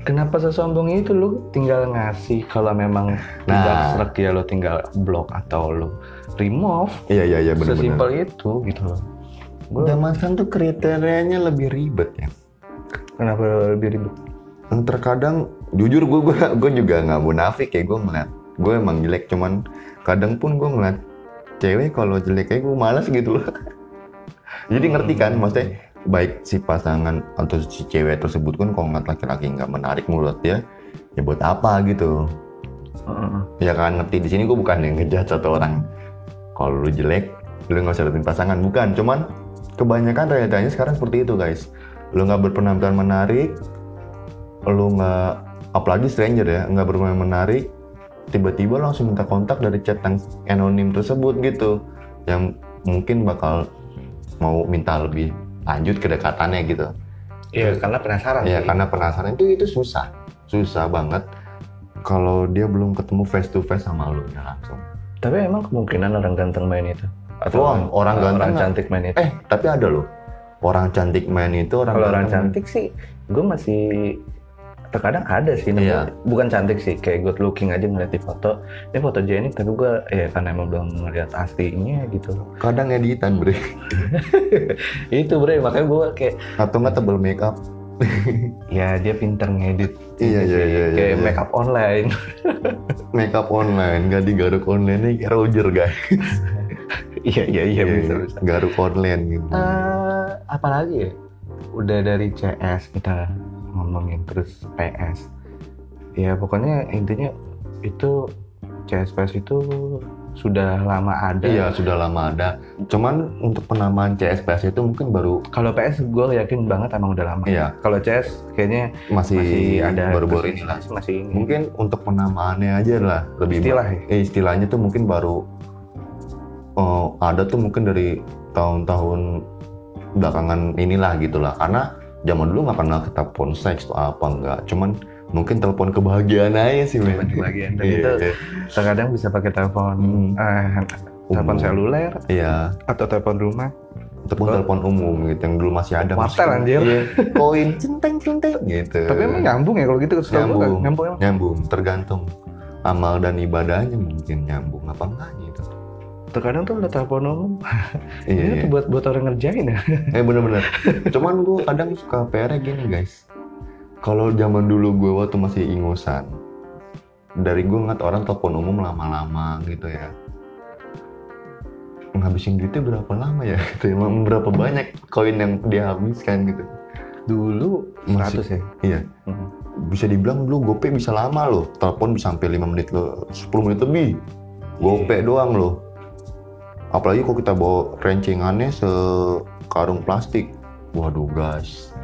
Speaker 1: kenapa sesombong itu lu tinggal ngasih kalau memang tidak
Speaker 2: Nah.
Speaker 1: srek ya lu tinggal blok atau lu remove
Speaker 2: iya iya iya benar-benar
Speaker 1: sesimpel itu gitu loh Gua-
Speaker 2: zaman sekarang tuh kriterianya lebih ribet ya
Speaker 1: kenapa lebih ribet
Speaker 2: yang terkadang jujur gue gue juga nggak munafik ya gue ngeliat gue emang jelek cuman kadang pun gue ngeliat cewek kalau jelek kayak gue malas gitu loh jadi ngerti kan
Speaker 1: Hmm.
Speaker 2: maksudnya baik si pasangan atau si cewek tersebut kan kalau ngeliat laki-laki nggak menarik menurut dia ya buat apa gitu
Speaker 1: Heeh.
Speaker 2: ya kan ngerti di sini gue bukan yang ngejat satu orang kalau lu jelek lu nggak usah dapetin pasangan bukan cuman kebanyakan realitanya sekarang seperti itu guys lu nggak berpenampilan menarik lu nggak apalagi stranger ya nggak berpenampilan menarik tiba-tiba langsung minta kontak dari chat yang anonim tersebut gitu yang mungkin bakal mau minta lebih lanjut kedekatannya gitu
Speaker 1: Iya, karena penasaran
Speaker 2: Iya
Speaker 1: sih.
Speaker 2: karena penasaran itu itu susah, susah banget. Kalau dia belum ketemu face to face sama lu ya langsung.
Speaker 1: tapi emang kemungkinan orang ganteng main itu atau
Speaker 2: Wah, orang ganteng-
Speaker 1: cantik main itu
Speaker 2: Eh tapi ada loh orang cantik main itu orang
Speaker 1: Kalau orang
Speaker 2: ganteng.
Speaker 1: cantik sih, gue masih terkadang ada sih. nemu-
Speaker 2: Iya.
Speaker 1: Bukan cantik sih, kayak good looking aja ngeliat di foto. Ini foto jenik, tapi gue ya karena emang belum ngeliat aslinya gitu.
Speaker 2: kadang editan bre
Speaker 1: Itu bre, makanya gue kayak
Speaker 2: atau nggak tebel make up.
Speaker 1: ya dia pinter ngedit.
Speaker 2: Iya,
Speaker 1: Ini
Speaker 2: iya,
Speaker 1: sih,
Speaker 2: iya, iya,
Speaker 1: Kayak
Speaker 2: iya.
Speaker 1: make up online.
Speaker 2: Make up online nggak digaruk online nih kayak Roger guys.
Speaker 1: Iya iya iya bisa bisa.
Speaker 2: Garuk online gitu.
Speaker 1: Eh, apalagi ya? Udah dari CS kita ngomongin terus PS. ya pokoknya intinya itu CSPS itu sudah lama ada.
Speaker 2: Iya sudah lama ada. Cuman untuk penamaan CSPS itu mungkin baru
Speaker 1: Kalau PS gue yakin banget emang udah lama.
Speaker 2: Iya.
Speaker 1: Kalau CS kayaknya
Speaker 2: masih,
Speaker 1: masih ada
Speaker 2: baru-baru ini lah.
Speaker 1: Masih ini.
Speaker 2: Mungkin untuk penamaannya aja lah lebih
Speaker 1: istilah ya.
Speaker 2: eh, istilahnya tuh mungkin baru eh, ada tuh mungkin dari tahun-tahun belakangan inilah gitulah karena zaman dulu nggak pernah kita telepon seks atau apa nggak cuman mungkin telepon kebahagiaan aja sih men
Speaker 1: Bagian dan
Speaker 2: Iya,
Speaker 1: itu
Speaker 2: iya.
Speaker 1: terkadang bisa pakai telepon
Speaker 2: Hmm.
Speaker 1: eh, telepon
Speaker 2: Umum.
Speaker 1: seluler
Speaker 2: iya
Speaker 1: atau telepon rumah.
Speaker 2: telepon telepon umum gitu yang dulu masih ada
Speaker 1: Wartel,
Speaker 2: masih-
Speaker 1: anjir.
Speaker 2: iya, koin centeng centeng gitu
Speaker 1: Tapi emang nyambung ya kalau gitu setahu gua
Speaker 2: Nyambung.
Speaker 1: nyambung. emang.
Speaker 2: nyambung tergantung amal dan ibadahnya mungkin nyambung apa enggak gitu
Speaker 1: Terkadang tuh ada telepon umum.
Speaker 2: iya,
Speaker 1: Ini
Speaker 2: iya.
Speaker 1: tuh buat buat orang ngerjain ya.
Speaker 2: Eh bener-bener. Cuman gue kadang suka PR gini guys. Kalau zaman dulu gue waktu masih ingusan, dari gue ngeliat orang telepon umum lama-lama gitu ya. Ngabisin duitnya berapa lama ya? Gitu. Emang berapa banyak koin yang dihabiskan gitu?
Speaker 1: Dulu
Speaker 2: Masih-
Speaker 1: 100 ya.
Speaker 2: Iya.
Speaker 1: Mhm.
Speaker 2: Bisa dibilang dulu GoPay bisa lama loh. Telepon bisa sampai 5 menit loh, 10 menit lebih.
Speaker 1: Iya.
Speaker 2: GoPay doang loh. Apalagi kalau kita bawa rencengannya sekarung plastik. Waduh guys.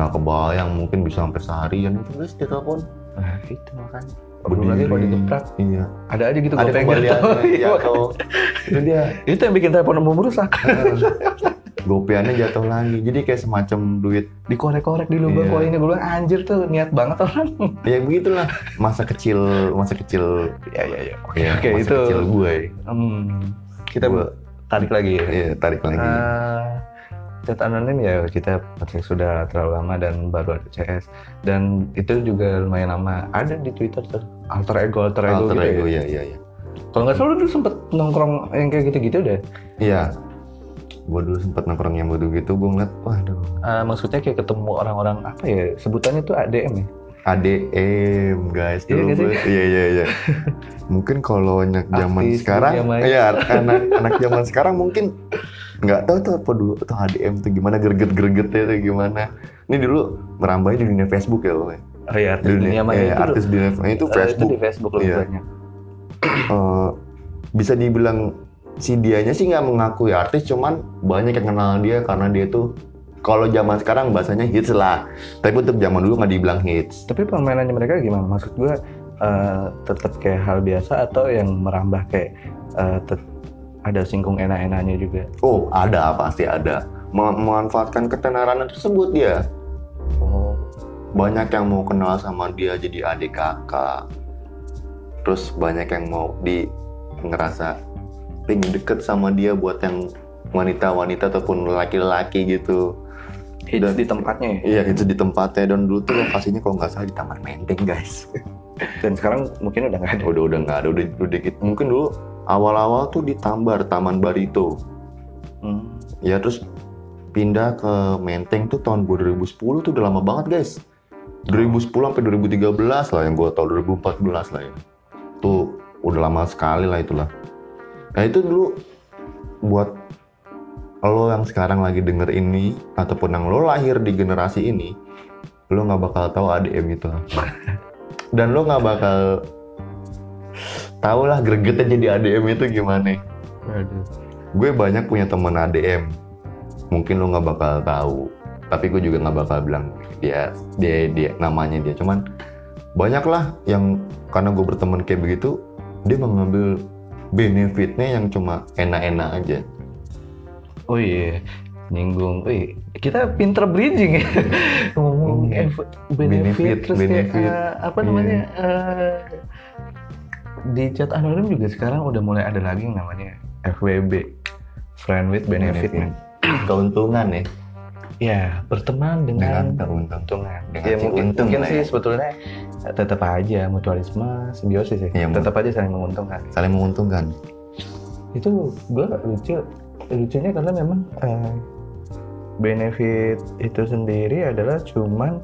Speaker 2: Nggak kebayang mungkin bisa sampai seharian itu guys di telepon.
Speaker 1: Nah, itu makanya. Belum lagi kalau
Speaker 2: Berdiri.
Speaker 1: digeprak,
Speaker 2: Oh, Iya.
Speaker 1: ada aja gitu
Speaker 2: Ada
Speaker 1: gopengnya.
Speaker 2: kembaliannya jatuh. Iya. itu dia.
Speaker 1: itu yang bikin telepon umum rusak.
Speaker 2: Gopeannya jatuh lagi. Jadi kayak semacam duit
Speaker 1: Dikorek-korek di lubang
Speaker 2: Iya.
Speaker 1: koinnya gue bilang anjir tuh niat banget orang.
Speaker 2: ya begitulah masa kecil masa kecil
Speaker 1: Ya ya ya. Oke
Speaker 2: ya,
Speaker 1: oke
Speaker 2: masa
Speaker 1: itu.
Speaker 2: kecil gue
Speaker 1: Hmm, kita
Speaker 2: Gua-
Speaker 1: tarik lagi ya.
Speaker 2: Iya, tarik lagi.
Speaker 1: Eh, chat anonim ya kita pakai sudah terlalu lama dan baru ada CS dan itu juga lumayan lama ada di Twitter tuh alter ego alter ego
Speaker 2: alter
Speaker 1: gitu
Speaker 2: ego,
Speaker 1: ya.
Speaker 2: iya, iya, iya.
Speaker 1: Kalau nggak salah lu dulu sempet nongkrong yang kayak gitu-gitu deh.
Speaker 2: Iya. Gue dulu sempet nongkrong yang bodoh gitu, gue ngeliat, waduh,
Speaker 1: Eh, maksudnya kayak ketemu orang-orang apa ya sebutannya tuh ADM ya.
Speaker 2: ADM guys
Speaker 1: Iya
Speaker 2: dulu
Speaker 1: nggak sih?
Speaker 2: gua- Iya, iya, iya. Mungkin kalau anak zaman
Speaker 1: Artis
Speaker 2: sekarang,
Speaker 1: dunia maya.
Speaker 2: iya, anak anak zaman sekarang mungkin nggak tahu tuh apa dulu tuh ADM tuh gimana greget-gregetnya tuh gimana. Ini dulu merambahnya di dunia Facebook ya, loh.
Speaker 1: Oh iya, artis dunia, maya
Speaker 2: iya,
Speaker 1: itu,
Speaker 2: artis dunia maya itu
Speaker 1: eh,
Speaker 2: Facebook.
Speaker 1: itu di Facebook lebih
Speaker 2: Iya.
Speaker 1: banyak.
Speaker 2: eh, bisa dibilang si dianya sih nggak mengakui artis cuman banyak yang kenal dia karena dia tuh kalau zaman sekarang bahasanya hits lah tapi untuk zaman dulu nggak dibilang hits
Speaker 1: Tapi permainannya mereka gimana? Maksud gue tetap kayak hal biasa atau yang merambah kayak eh, tet- ada singkung enak-enaknya juga.
Speaker 2: oh ada pasti ada Mem- memanfaatkan ketenaran tersebut dia
Speaker 1: Oh,
Speaker 2: banyak yang mau kenal sama dia jadi adik kakak terus banyak yang mau di ngerasa pengen deket sama dia buat yang wanita-wanita ataupun laki-laki gitu
Speaker 1: hits
Speaker 2: Dan-
Speaker 1: di tempatnya ya.
Speaker 2: Iya itu di tempatnya dan dulu tuh lokasinya kalau nggak salah di Taman Menteng guys.
Speaker 1: Dan sekarang mungkin udah nggak ada.
Speaker 2: Udah udah nggak ada udah, udah dikit. Mungkin dulu awal-awal tuh di Tambar Taman Barito.
Speaker 1: Hmm.
Speaker 2: Ya terus pindah ke Menteng tuh tahun 2010 tuh udah lama banget guys. 2010 sampai 2013 lah yang gua tau 2014 lah ya. Tuh udah lama sekali lah itulah. Nah itu dulu buat lo yang sekarang lagi denger ini ataupun yang lo lahir di generasi ini lo nggak bakal tahu ADM itu apa dan lo nggak bakal tau lah gregetnya jadi ADM itu gimana gue banyak punya temen ADM mungkin lo nggak bakal tahu tapi gue juga nggak bakal bilang dia dia dia namanya dia cuman banyak lah yang karena gue berteman kayak begitu dia mengambil benefitnya yang cuma enak-enak aja
Speaker 1: Oh iya, nyinggung. Wih, kita pinter bridging ya. Ngomong
Speaker 2: Iya.
Speaker 1: ev- benefit,
Speaker 2: Benefit,
Speaker 1: terus
Speaker 2: benefit.
Speaker 1: kayak eh, apa
Speaker 2: Iya.
Speaker 1: namanya? eh, di chat anonim juga sekarang udah mulai ada lagi yang namanya FWB. Friend with benefit, man.
Speaker 2: keuntungan ya
Speaker 1: Ya, berteman
Speaker 2: dengan
Speaker 1: dengan,
Speaker 2: keuntungan
Speaker 1: keuntungan.
Speaker 2: dengan
Speaker 1: ya
Speaker 2: si
Speaker 1: mungkin,
Speaker 2: untung
Speaker 1: mungkin
Speaker 2: lah
Speaker 1: sih
Speaker 2: ya.
Speaker 1: sebetulnya eh, tetap aja mutualisme, simbiosis ya.
Speaker 2: Iya, mungkin.
Speaker 1: tetap aja saling menguntungkan.
Speaker 2: saling menguntungkan
Speaker 1: itu gue lucu lucunya karena memang eh, benefit itu sendiri adalah cuman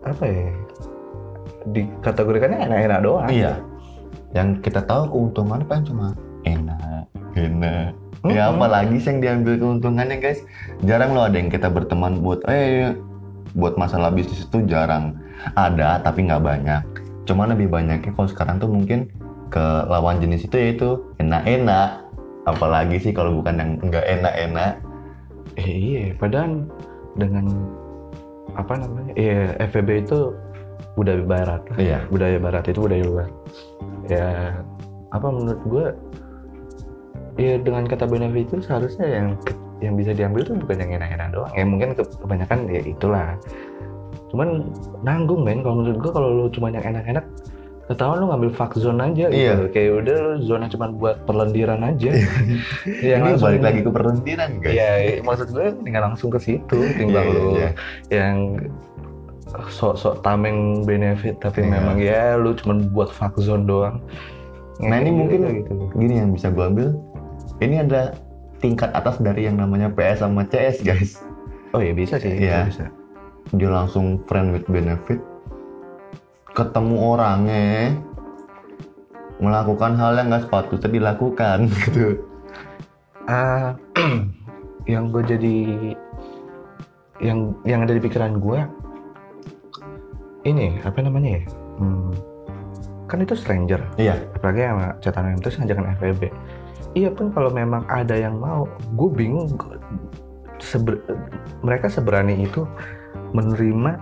Speaker 1: apa ya dikategorikannya enak-enak doang
Speaker 2: iya yang kita tahu keuntungan kan cuma enak enak ya
Speaker 1: Mm-mm.
Speaker 2: apalagi sih yang diambil keuntungannya guys jarang loh ada yang kita berteman buat eh buat masalah bisnis itu jarang ada tapi nggak banyak cuman lebih banyaknya kalau sekarang tuh mungkin ke lawan jenis itu yaitu enak-enak apalagi sih kalau bukan yang nggak enak-enak
Speaker 1: Eh, iya, padahal dengan apa namanya? Iya, FEB itu budaya barat. lah.
Speaker 2: Iya.
Speaker 1: Budaya barat itu budaya luar. Ya, apa menurut gue ya dengan kata benefit itu seharusnya yang ke- yang bisa diambil tuh bukan yang enak-enak doang. Ya mungkin ke- kebanyakan ya itulah. Cuman nanggung men kalau menurut gue kalau lu cuma yang enak-enak ketahuan lu ngambil fuck zone aja
Speaker 2: Iya.
Speaker 1: gitu. Kayak udah lu zona cuma buat perlendiran aja.
Speaker 2: yang ini
Speaker 1: langsung-
Speaker 2: balik lagi ke perlendiran guys
Speaker 1: Iya, maksud gue tinggal langsung ke situ, tinggal
Speaker 2: Iya, iya,
Speaker 1: lu
Speaker 2: iya.
Speaker 1: yang sok-sok tameng benefit tapi
Speaker 2: Iya.
Speaker 1: memang ya lu cuman buat fuck zone doang.
Speaker 2: Nah, ini
Speaker 1: Gitu,
Speaker 2: mungkin-
Speaker 1: gitu.
Speaker 2: gini yang bisa gue ambil ini ada tingkat atas dari yang namanya PS sama CS guys
Speaker 1: Oh ya bisa sih,
Speaker 2: Iya.
Speaker 1: bisa. bisa.
Speaker 2: dia langsung friend with benefit ketemu orangnya melakukan hal yang nggak sepatutnya dilakukan gitu
Speaker 1: Ah, yang gue jadi yang yang ada di pikiran gue ini apa namanya ya? Hmm, kan itu stranger.
Speaker 2: iya
Speaker 1: apalagi sama catatan terus ngajakan FVB iya pun kalau memang ada yang mau gue bingung gua- seber- mereka seberani itu menerima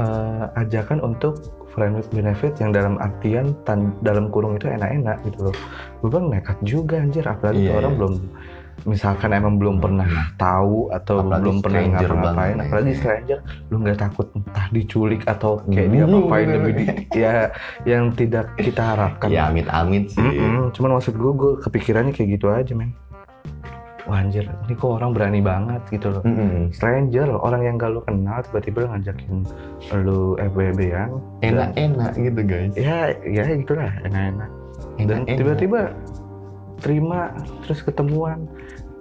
Speaker 1: eh, ajakan untuk friend with benefit yang dalam artian tan- dalam kurung itu enak-enak gitu loh gue kan nekat juga anjir apalagi
Speaker 2: Iya,
Speaker 1: tuh orang
Speaker 2: iya.
Speaker 1: belum misalkan emang belum pernah tahu atau
Speaker 2: Apalagi
Speaker 1: belum pernah
Speaker 2: stranger
Speaker 1: ngapa-ngapain
Speaker 2: banget,
Speaker 1: apalagi
Speaker 2: iya.
Speaker 1: stranger lu nggak takut entah diculik atau kayak
Speaker 2: Hmm,
Speaker 1: dia ngapain
Speaker 2: bener-bener.
Speaker 1: demi di- ya yang tidak kita harapkan
Speaker 2: ya amit-amit sih
Speaker 1: kan. Mm-mm, cuman maksud gue, gue kepikirannya kayak gitu aja, men. Wah anjir, ini kok orang berani banget gitu loh.
Speaker 2: Mm-mm.
Speaker 1: Stranger, orang yang gak lu kenal tiba-tiba ngajakin lu FWB yang
Speaker 2: enak-enak gitu guys
Speaker 1: ya ya gitulah enak-enak. Dan
Speaker 2: Enak-enak.
Speaker 1: tiba-tiba terima terus ketemuan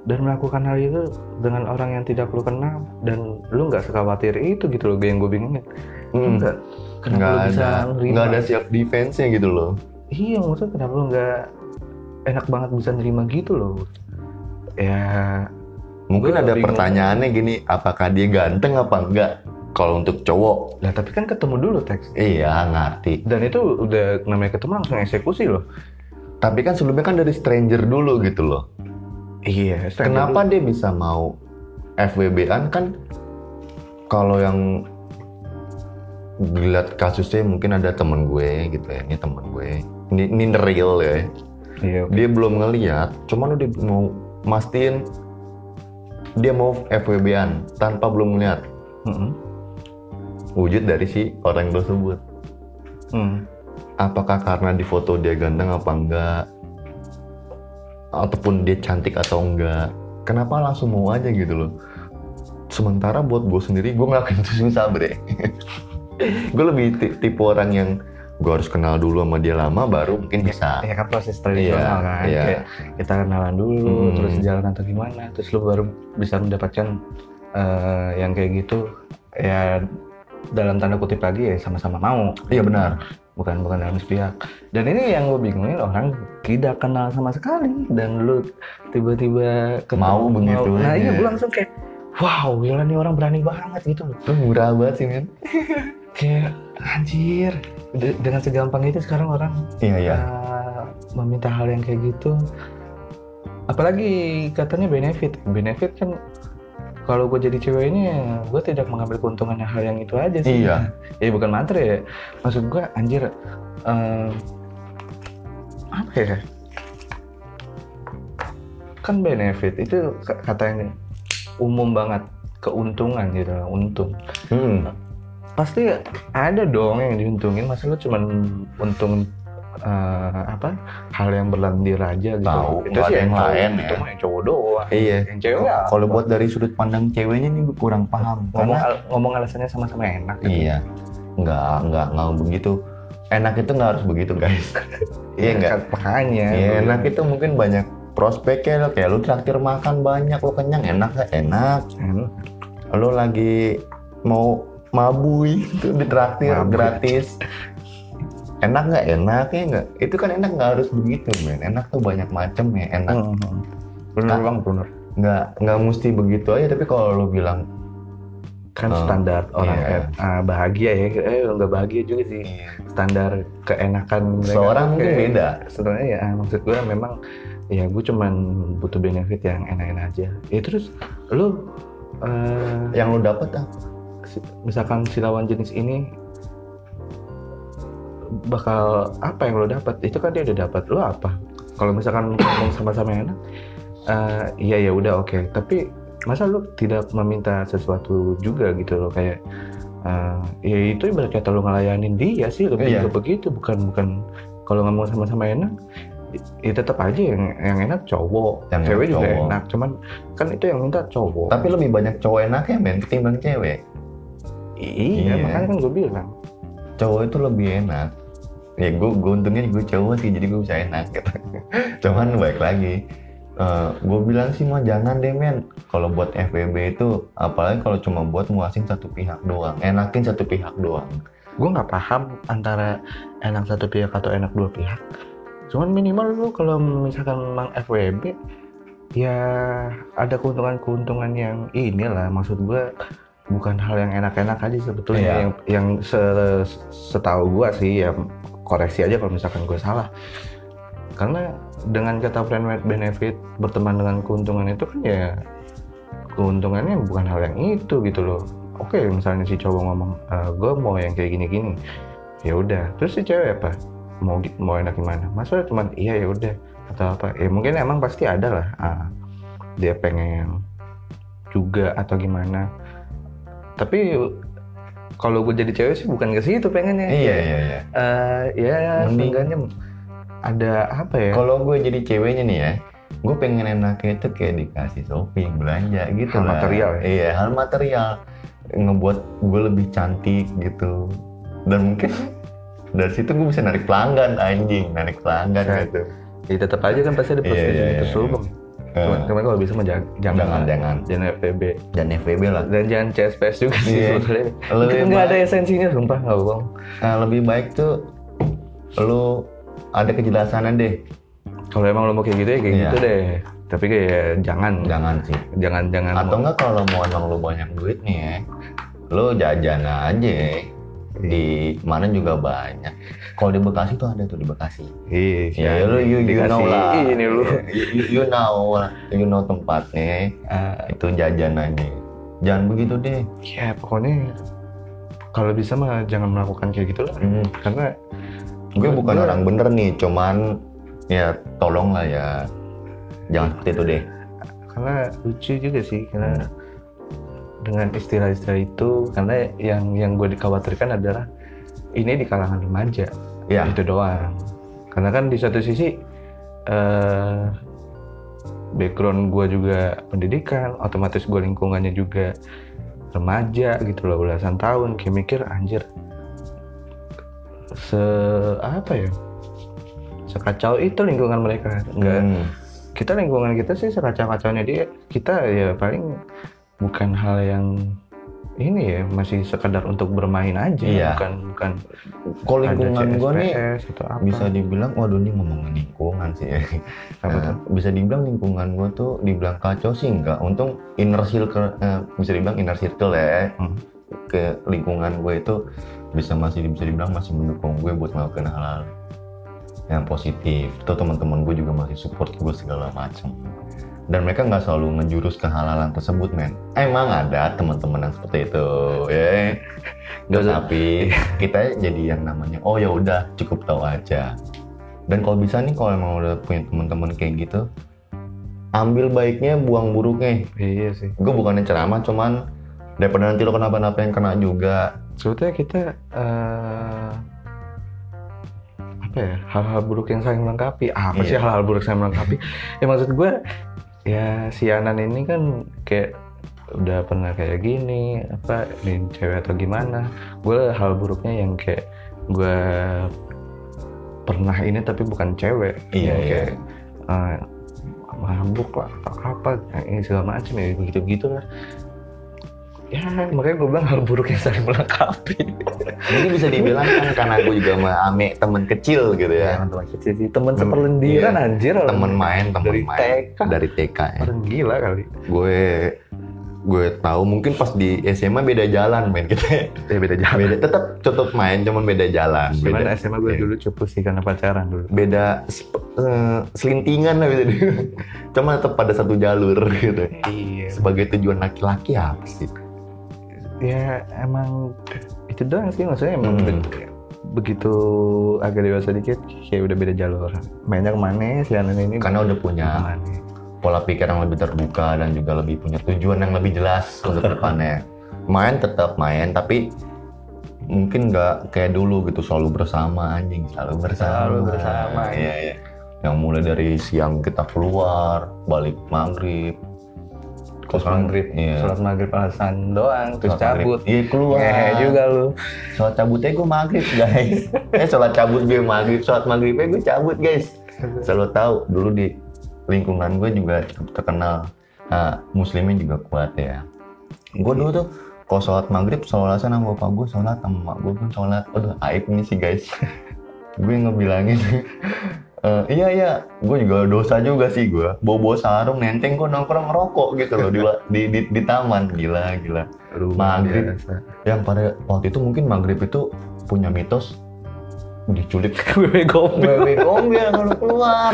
Speaker 1: dan melakukan hal itu dengan orang yang tidak lu kenal dan lu nggak sekhawatir itu gitu loh yang gue bingungin.
Speaker 2: Mm.
Speaker 1: Enggak. Kenapa
Speaker 2: nggak
Speaker 1: lu bisa
Speaker 2: ada
Speaker 1: nerima?
Speaker 2: nggak ada siap defense nya gitu loh
Speaker 1: Iya maksudnya kenapa lu nggak enak banget bisa nerima gitu loh Ya
Speaker 2: mungkin
Speaker 1: Gua
Speaker 2: ada
Speaker 1: bingung.
Speaker 2: pertanyaannya gini apakah dia ganteng apa enggak kalau untuk cowok
Speaker 1: lah tapi kan ketemu dulu teks
Speaker 2: iya ngerti
Speaker 1: Dan itu udah namanya ketemu langsung eksekusi loh
Speaker 2: tapi kan sebelumnya kan dari stranger dulu gitu loh
Speaker 1: Iya
Speaker 2: Kenapa dia bisa mau FWB-an kan kalau yang dilihat kasusnya mungkin ada temen gue gitu ya ini temen gue ini, ini in the real ya
Speaker 1: Iya
Speaker 2: dia belum ngeliat cuman udah mau mastiin dia mau FWB-an tanpa belum ngeliat
Speaker 1: Mm-mm.
Speaker 2: wujud dari si orang tersebut
Speaker 1: Mm.
Speaker 2: apakah karena di foto dia ganteng apa enggak ataupun dia cantik atau enggak kenapa langsung mau aja gitu loh sementara buat gue sendiri gue ngelakuin itu susah bre gue lebih ti- tipe orang yang gue harus kenal dulu sama dia lama baru mungkin bisa
Speaker 1: Ya kan proses tradisional
Speaker 2: Iya,
Speaker 1: kan
Speaker 2: iya.
Speaker 1: Kayak kita kenalan dulu
Speaker 2: Hmm.
Speaker 1: terus jalan atau gimana Terus lu baru bisa mendapatkan eh, yang kayak gitu Ya dalam tanda kutip lagi ya sama-sama mau
Speaker 2: iya benar
Speaker 1: bukan bukan dalam sepihak dan ini yang gue bingungin orang tidak kenal sama sekali dan lu tiba-tiba ketemu-
Speaker 2: Mau begitu
Speaker 1: nah
Speaker 2: aja.
Speaker 1: iya gue langsung kayak wow gila nih orang berani banget gitu loh
Speaker 2: itu murah banget sih men
Speaker 1: kayak anjir De- dengan segampang itu sekarang orang
Speaker 2: iya iya
Speaker 1: eh, meminta hal yang kayak gitu apalagi katanya benefit benefit kan kalau gue jadi cewek ini gue tidak mengambil keuntungan hal yang itu aja sih
Speaker 2: iya
Speaker 1: ya bukan matre ya maksud gua anjir eh, apa ya kan benefit itu k- kata yang umum banget keuntungan gitu lah, untung
Speaker 2: Hmm.
Speaker 1: pasti ada dong yang diuntungin masa lu cuman untung eh, apa hal yang berlendir aja gitu
Speaker 2: Tahu,
Speaker 1: itu
Speaker 2: nggak
Speaker 1: sih
Speaker 2: ada yang
Speaker 1: cowok-
Speaker 2: lain
Speaker 1: itu
Speaker 2: ya.
Speaker 1: mah yang cowok doang
Speaker 2: iya
Speaker 1: yang cewek nggak.
Speaker 2: kalau buat dari sudut pandang ceweknya nih gue kurang paham
Speaker 1: ngomong
Speaker 2: karena
Speaker 1: al- ngomong alasannya sama-sama enak gitu.
Speaker 2: Iya, nggak nggak nggak begitu. Enak itu nggak harus begitu guys. iya nggak.
Speaker 1: makanya
Speaker 2: Iya, enak itu mungkin banyak prospeknya lo kayak lo traktir makan banyak lo kenyang enak nggak enak.
Speaker 1: Enak.
Speaker 2: Lo lagi mau mabui itu ditraktir
Speaker 1: Mabui.
Speaker 2: gratis. Enak nggak enak ya nggak. Itu kan enak nggak harus begitu men. Enak tuh banyak macam ya enak.
Speaker 1: Hmm. Bener
Speaker 2: Nah.
Speaker 1: bang, bener.
Speaker 2: Nggak nggak mesti begitu aja tapi kalau lo bilang
Speaker 1: kan
Speaker 2: Oh,
Speaker 1: standar orang
Speaker 2: iya.
Speaker 1: eh, ah, bahagia ya eh nggak bahagia juga sih
Speaker 2: Iya.
Speaker 1: standar keenakan mereka
Speaker 2: Seorang
Speaker 1: tuh
Speaker 2: mungkin
Speaker 1: kayak-
Speaker 2: beda.
Speaker 1: sebenarnya ya maksud gue memang ya gue cuman butuh benefit yang enak-enak aja ya terus lu eh,
Speaker 2: Yang lu ah, dapat apa?
Speaker 1: si- misalkan silawan jenis ini bakal apa yang lo dapat itu kan dia udah dapat lo apa kalau misalkan ngomong sama-sama yang enak eh, iya ya udah oke tapi masa lo tidak meminta sesuatu juga gitu loh kayak eh, ya itu ibarat kata lo ngelayanin dia sih lebih
Speaker 2: Iya.
Speaker 1: ke begitu bukan bukan kalau ngomong sama-sama enak ya tetap aja yang yang enak cowok
Speaker 2: Yang enak
Speaker 1: cewek juga
Speaker 2: cowok.
Speaker 1: enak cuman kan itu yang minta cowok
Speaker 2: Tapi lebih banyak cowok enaknya men ketimbang cewek.
Speaker 1: iya,
Speaker 2: Iya.
Speaker 1: makanya kan gue bilang
Speaker 2: Cowok itu lebih enak. Ya gue, gue untungnya gue cowok sih jadi gue bisa enak gitu. Cuman baik lagi. gue bilang sih mah jangan deh men kalau buat FBB itu apalagi kalau cuma buat muasin satu pihak doang enakin satu pihak doang
Speaker 1: gue nggak paham antara enak satu pihak atau enak dua pihak cuman minimal lu kalau misalkan memang FWB ya ada keuntungan-keuntungan yang inilah maksud gue bukan hal yang enak-enak aja sebetulnya
Speaker 2: Iya.
Speaker 1: yang yang se- setahu gue sih ya koreksi aja kalau misalkan gue salah karena dengan kata friend benefit berteman dengan keuntungan itu kan ya keuntungannya bukan hal yang itu gitu loh oke misalnya si cowok ngomong gue mau yang kayak gini gini ya udah terus si cewek apa mau gi- mau enak gimana masa cuman iya ya udah atau apa ya mungkin emang pasti ada lah ah, dia pengen juga atau gimana tapi kalau gue jadi cewek sih bukan ke situ pengennya
Speaker 2: iya iya iya
Speaker 1: Eh, ya
Speaker 2: Mending-
Speaker 1: seenggaknya ada apa ya
Speaker 2: Kalau gue jadi ceweknya nih ya, gue pengen enaknya itu kayak dikasih shopping, belanja gitu
Speaker 1: Hal
Speaker 2: lah.
Speaker 1: material ya?
Speaker 2: Iya, hal material. Ngebuat gue lebih cantik gitu. Dan mungkin dari situ gue bisa narik pelanggan anjing, narik pelanggan
Speaker 1: Bisa.
Speaker 2: gitu.
Speaker 1: ya tetap aja kan pasti ada
Speaker 2: Iya,
Speaker 1: plus
Speaker 2: iya, iya,
Speaker 1: minus
Speaker 2: iya.
Speaker 1: lu, Bang. Cuman,
Speaker 2: Eh,
Speaker 1: cuman kalau bisa mah jangan jangan
Speaker 2: jangan, jangan.
Speaker 1: jangan FPB
Speaker 2: Dan FBB lah.
Speaker 1: dan jangan CSPS juga sih
Speaker 2: Iya.
Speaker 1: sebetulnya.
Speaker 2: Lebih
Speaker 1: Itu nggak ada
Speaker 2: baik,
Speaker 1: esensinya sumpah nggak bohong.
Speaker 2: eh, lebih baik tuh lu ada kejelasannya deh.
Speaker 1: Kalau emang lo mau kayak gitu ya kayak
Speaker 2: Iya.
Speaker 1: gitu deh. Tapi kayak ya, jangan
Speaker 2: Jangan sih.
Speaker 1: jangan jangan
Speaker 2: Atau
Speaker 1: mau-
Speaker 2: enggak kalau mau emang lu banyak duit nih ya, lu jajan aja
Speaker 1: Iya.
Speaker 2: di mana juga banyak. Kalau di Bekasi tuh ada tuh di Bekasi.
Speaker 1: Iya,
Speaker 2: Ya, lu you, you
Speaker 1: dikasih
Speaker 2: know lah. Iya.
Speaker 1: ini lu.
Speaker 2: You, you- you know lah. You know tempatnya.
Speaker 1: Ah,
Speaker 2: Itu jajan aja. Jangan begitu deh.
Speaker 1: ya pokoknya kalau bisa mah jangan melakukan kayak gitu lah.
Speaker 2: Hmm.
Speaker 1: Karena
Speaker 2: Gue
Speaker 1: Gua-
Speaker 2: bukan
Speaker 1: gua-
Speaker 2: orang bener nih, cuman ya tolong lah ya. Jangan seperti itu deh.
Speaker 1: karena lucu juga sih karena dengan istilah-istilah itu karena yang yang gue dikhawatirkan adalah ini di kalangan remaja
Speaker 2: Ya,
Speaker 1: itu doang karena kan di satu sisi eh background gue juga pendidikan otomatis gue lingkungannya juga remaja gitu loh belasan tahun kayak mikir anjir se apa ya sekacau itu lingkungan mereka nggak
Speaker 2: Hmm.
Speaker 1: kita lingkungan kita sih sekacau-kacaunya dia kita ya paling bukan hal yang ini ya masih sekedar untuk bermain aja
Speaker 2: Iya.
Speaker 1: bukan bukan
Speaker 2: Kalau lingkungan
Speaker 1: ada
Speaker 2: gue nih
Speaker 1: CSPS atau apa
Speaker 2: bisa dibilang, waduh ini ngomongin lingkungan sih ya.
Speaker 1: Apa tuh?
Speaker 2: Nah, bisa dibilang lingkungan gue tuh dibilang kacau sih enggak. Untung inner circle, eh, bisa dibilang inner circle ya.
Speaker 1: Hmm.
Speaker 2: Ke lingkungan gue itu bisa masih bisa dibilang masih mendukung gue buat melakukan hal-hal yang positif. Itu teman-teman gue juga masih support gue segala macam. Dan mereka nggak selalu ngejurus ke hal-hal yang tersebut, men. Emang ada teman-teman yang seperti itu, ya.
Speaker 1: Nggak usah.
Speaker 2: Tapi kita jadi yang namanya, oh ya udah cukup tahu aja. Dan kalau bisa nih kalau emang udah punya teman-teman kayak gitu, ambil baiknya, buang buruknya.
Speaker 1: iya sih
Speaker 2: Gue bukannya ceramah, cuman daripada nanti lo kenapa-napa yang kena juga.
Speaker 1: sebetulnya kita eh, apa ya hal-hal buruk yang saling melengkapi Ah, apa
Speaker 2: Iya.
Speaker 1: sih hal-hal buruk yang saling melengkapi ya maksud gue ya si Anan ini kan kayak udah pernah kayak gini apa ini cewek atau gimana gue hal buruknya yang kayak gue pernah ini tapi bukan cewek
Speaker 2: Iya,
Speaker 1: Yang
Speaker 2: iya.
Speaker 1: kayak eh, mabuk lah atau apa ini segala macam ya begitu begitulah ya makanya gue bilang hal buruknya saling melengkapi
Speaker 2: Jadi bisa dibilang kan karena gue juga sama Ame temen kecil gitu ya.
Speaker 1: teman kecil sih teman seperlendiran
Speaker 2: Iya.
Speaker 1: anjir orang
Speaker 2: Temen main, temen
Speaker 1: Dari
Speaker 2: main.
Speaker 1: TK.
Speaker 2: Dari TK ya.
Speaker 1: orang gila kali
Speaker 2: Gue gue tahu mungkin pas di SMA beda jalan main kita ya.
Speaker 1: Ya beda jalan.
Speaker 2: beda tetap tetap main cuman beda jalan
Speaker 1: Cuman
Speaker 2: beda
Speaker 1: SMA gue
Speaker 2: Iya.
Speaker 1: dulu cupu sih karena pacaran dulu.
Speaker 2: beda sep- eh, selintingan lah bisa dibilang. cuman tetap pada satu jalur gitu
Speaker 1: Iya.
Speaker 2: sebagai tujuan laki-laki apa sih
Speaker 1: Ya emang itu doang sih maksudnya emang
Speaker 2: Hmm.
Speaker 1: be- begitu agak dewasa dikit kayak udah beda jalur. Mainnya kemana? Silanan ini.
Speaker 2: karena udah punya
Speaker 1: kemana?
Speaker 2: pola pikir yang lebih terbuka dan juga lebih punya tujuan yang lebih jelas untuk depannya. Main tetap main tapi mungkin nggak kayak dulu gitu selalu bersama anjing selalu bersama.
Speaker 1: Selalu bersama,
Speaker 2: Iya iya. Yang mulai dari siang kita keluar balik maghrib.
Speaker 1: Terus maghrib,
Speaker 2: Iya.
Speaker 1: sholat maghrib alasan doang, terus
Speaker 2: Sholat maghrib.
Speaker 1: cabut.
Speaker 2: Iya keluar.
Speaker 1: Ngehe juga lu.
Speaker 2: Sholat cabutnya gue maghrib guys. eh sholat cabut gue maghrib, sholat maghribnya gue cabut guys. Selalu tahu dulu di lingkungan gue juga cukup terkenal nah, muslimin juga kuat ya. Gue dulu tuh kalau sholat maghrib sholatan sama bapak gue sholat sama emak gue pun sholat. Aduh aib nih sih guys. gue ngebilangin. eh, iya iya, gue juga dosa juga sih gue. Bobo sarung nenteng gue nongkrong ngerokok gitu loh di, di, di, di taman gila gila Maghrib.
Speaker 1: biasa.
Speaker 2: yang Ya, pada waktu itu mungkin maghrib itu punya mitos diculik
Speaker 1: Wewe gombel.
Speaker 2: wewe gombel kalau keluar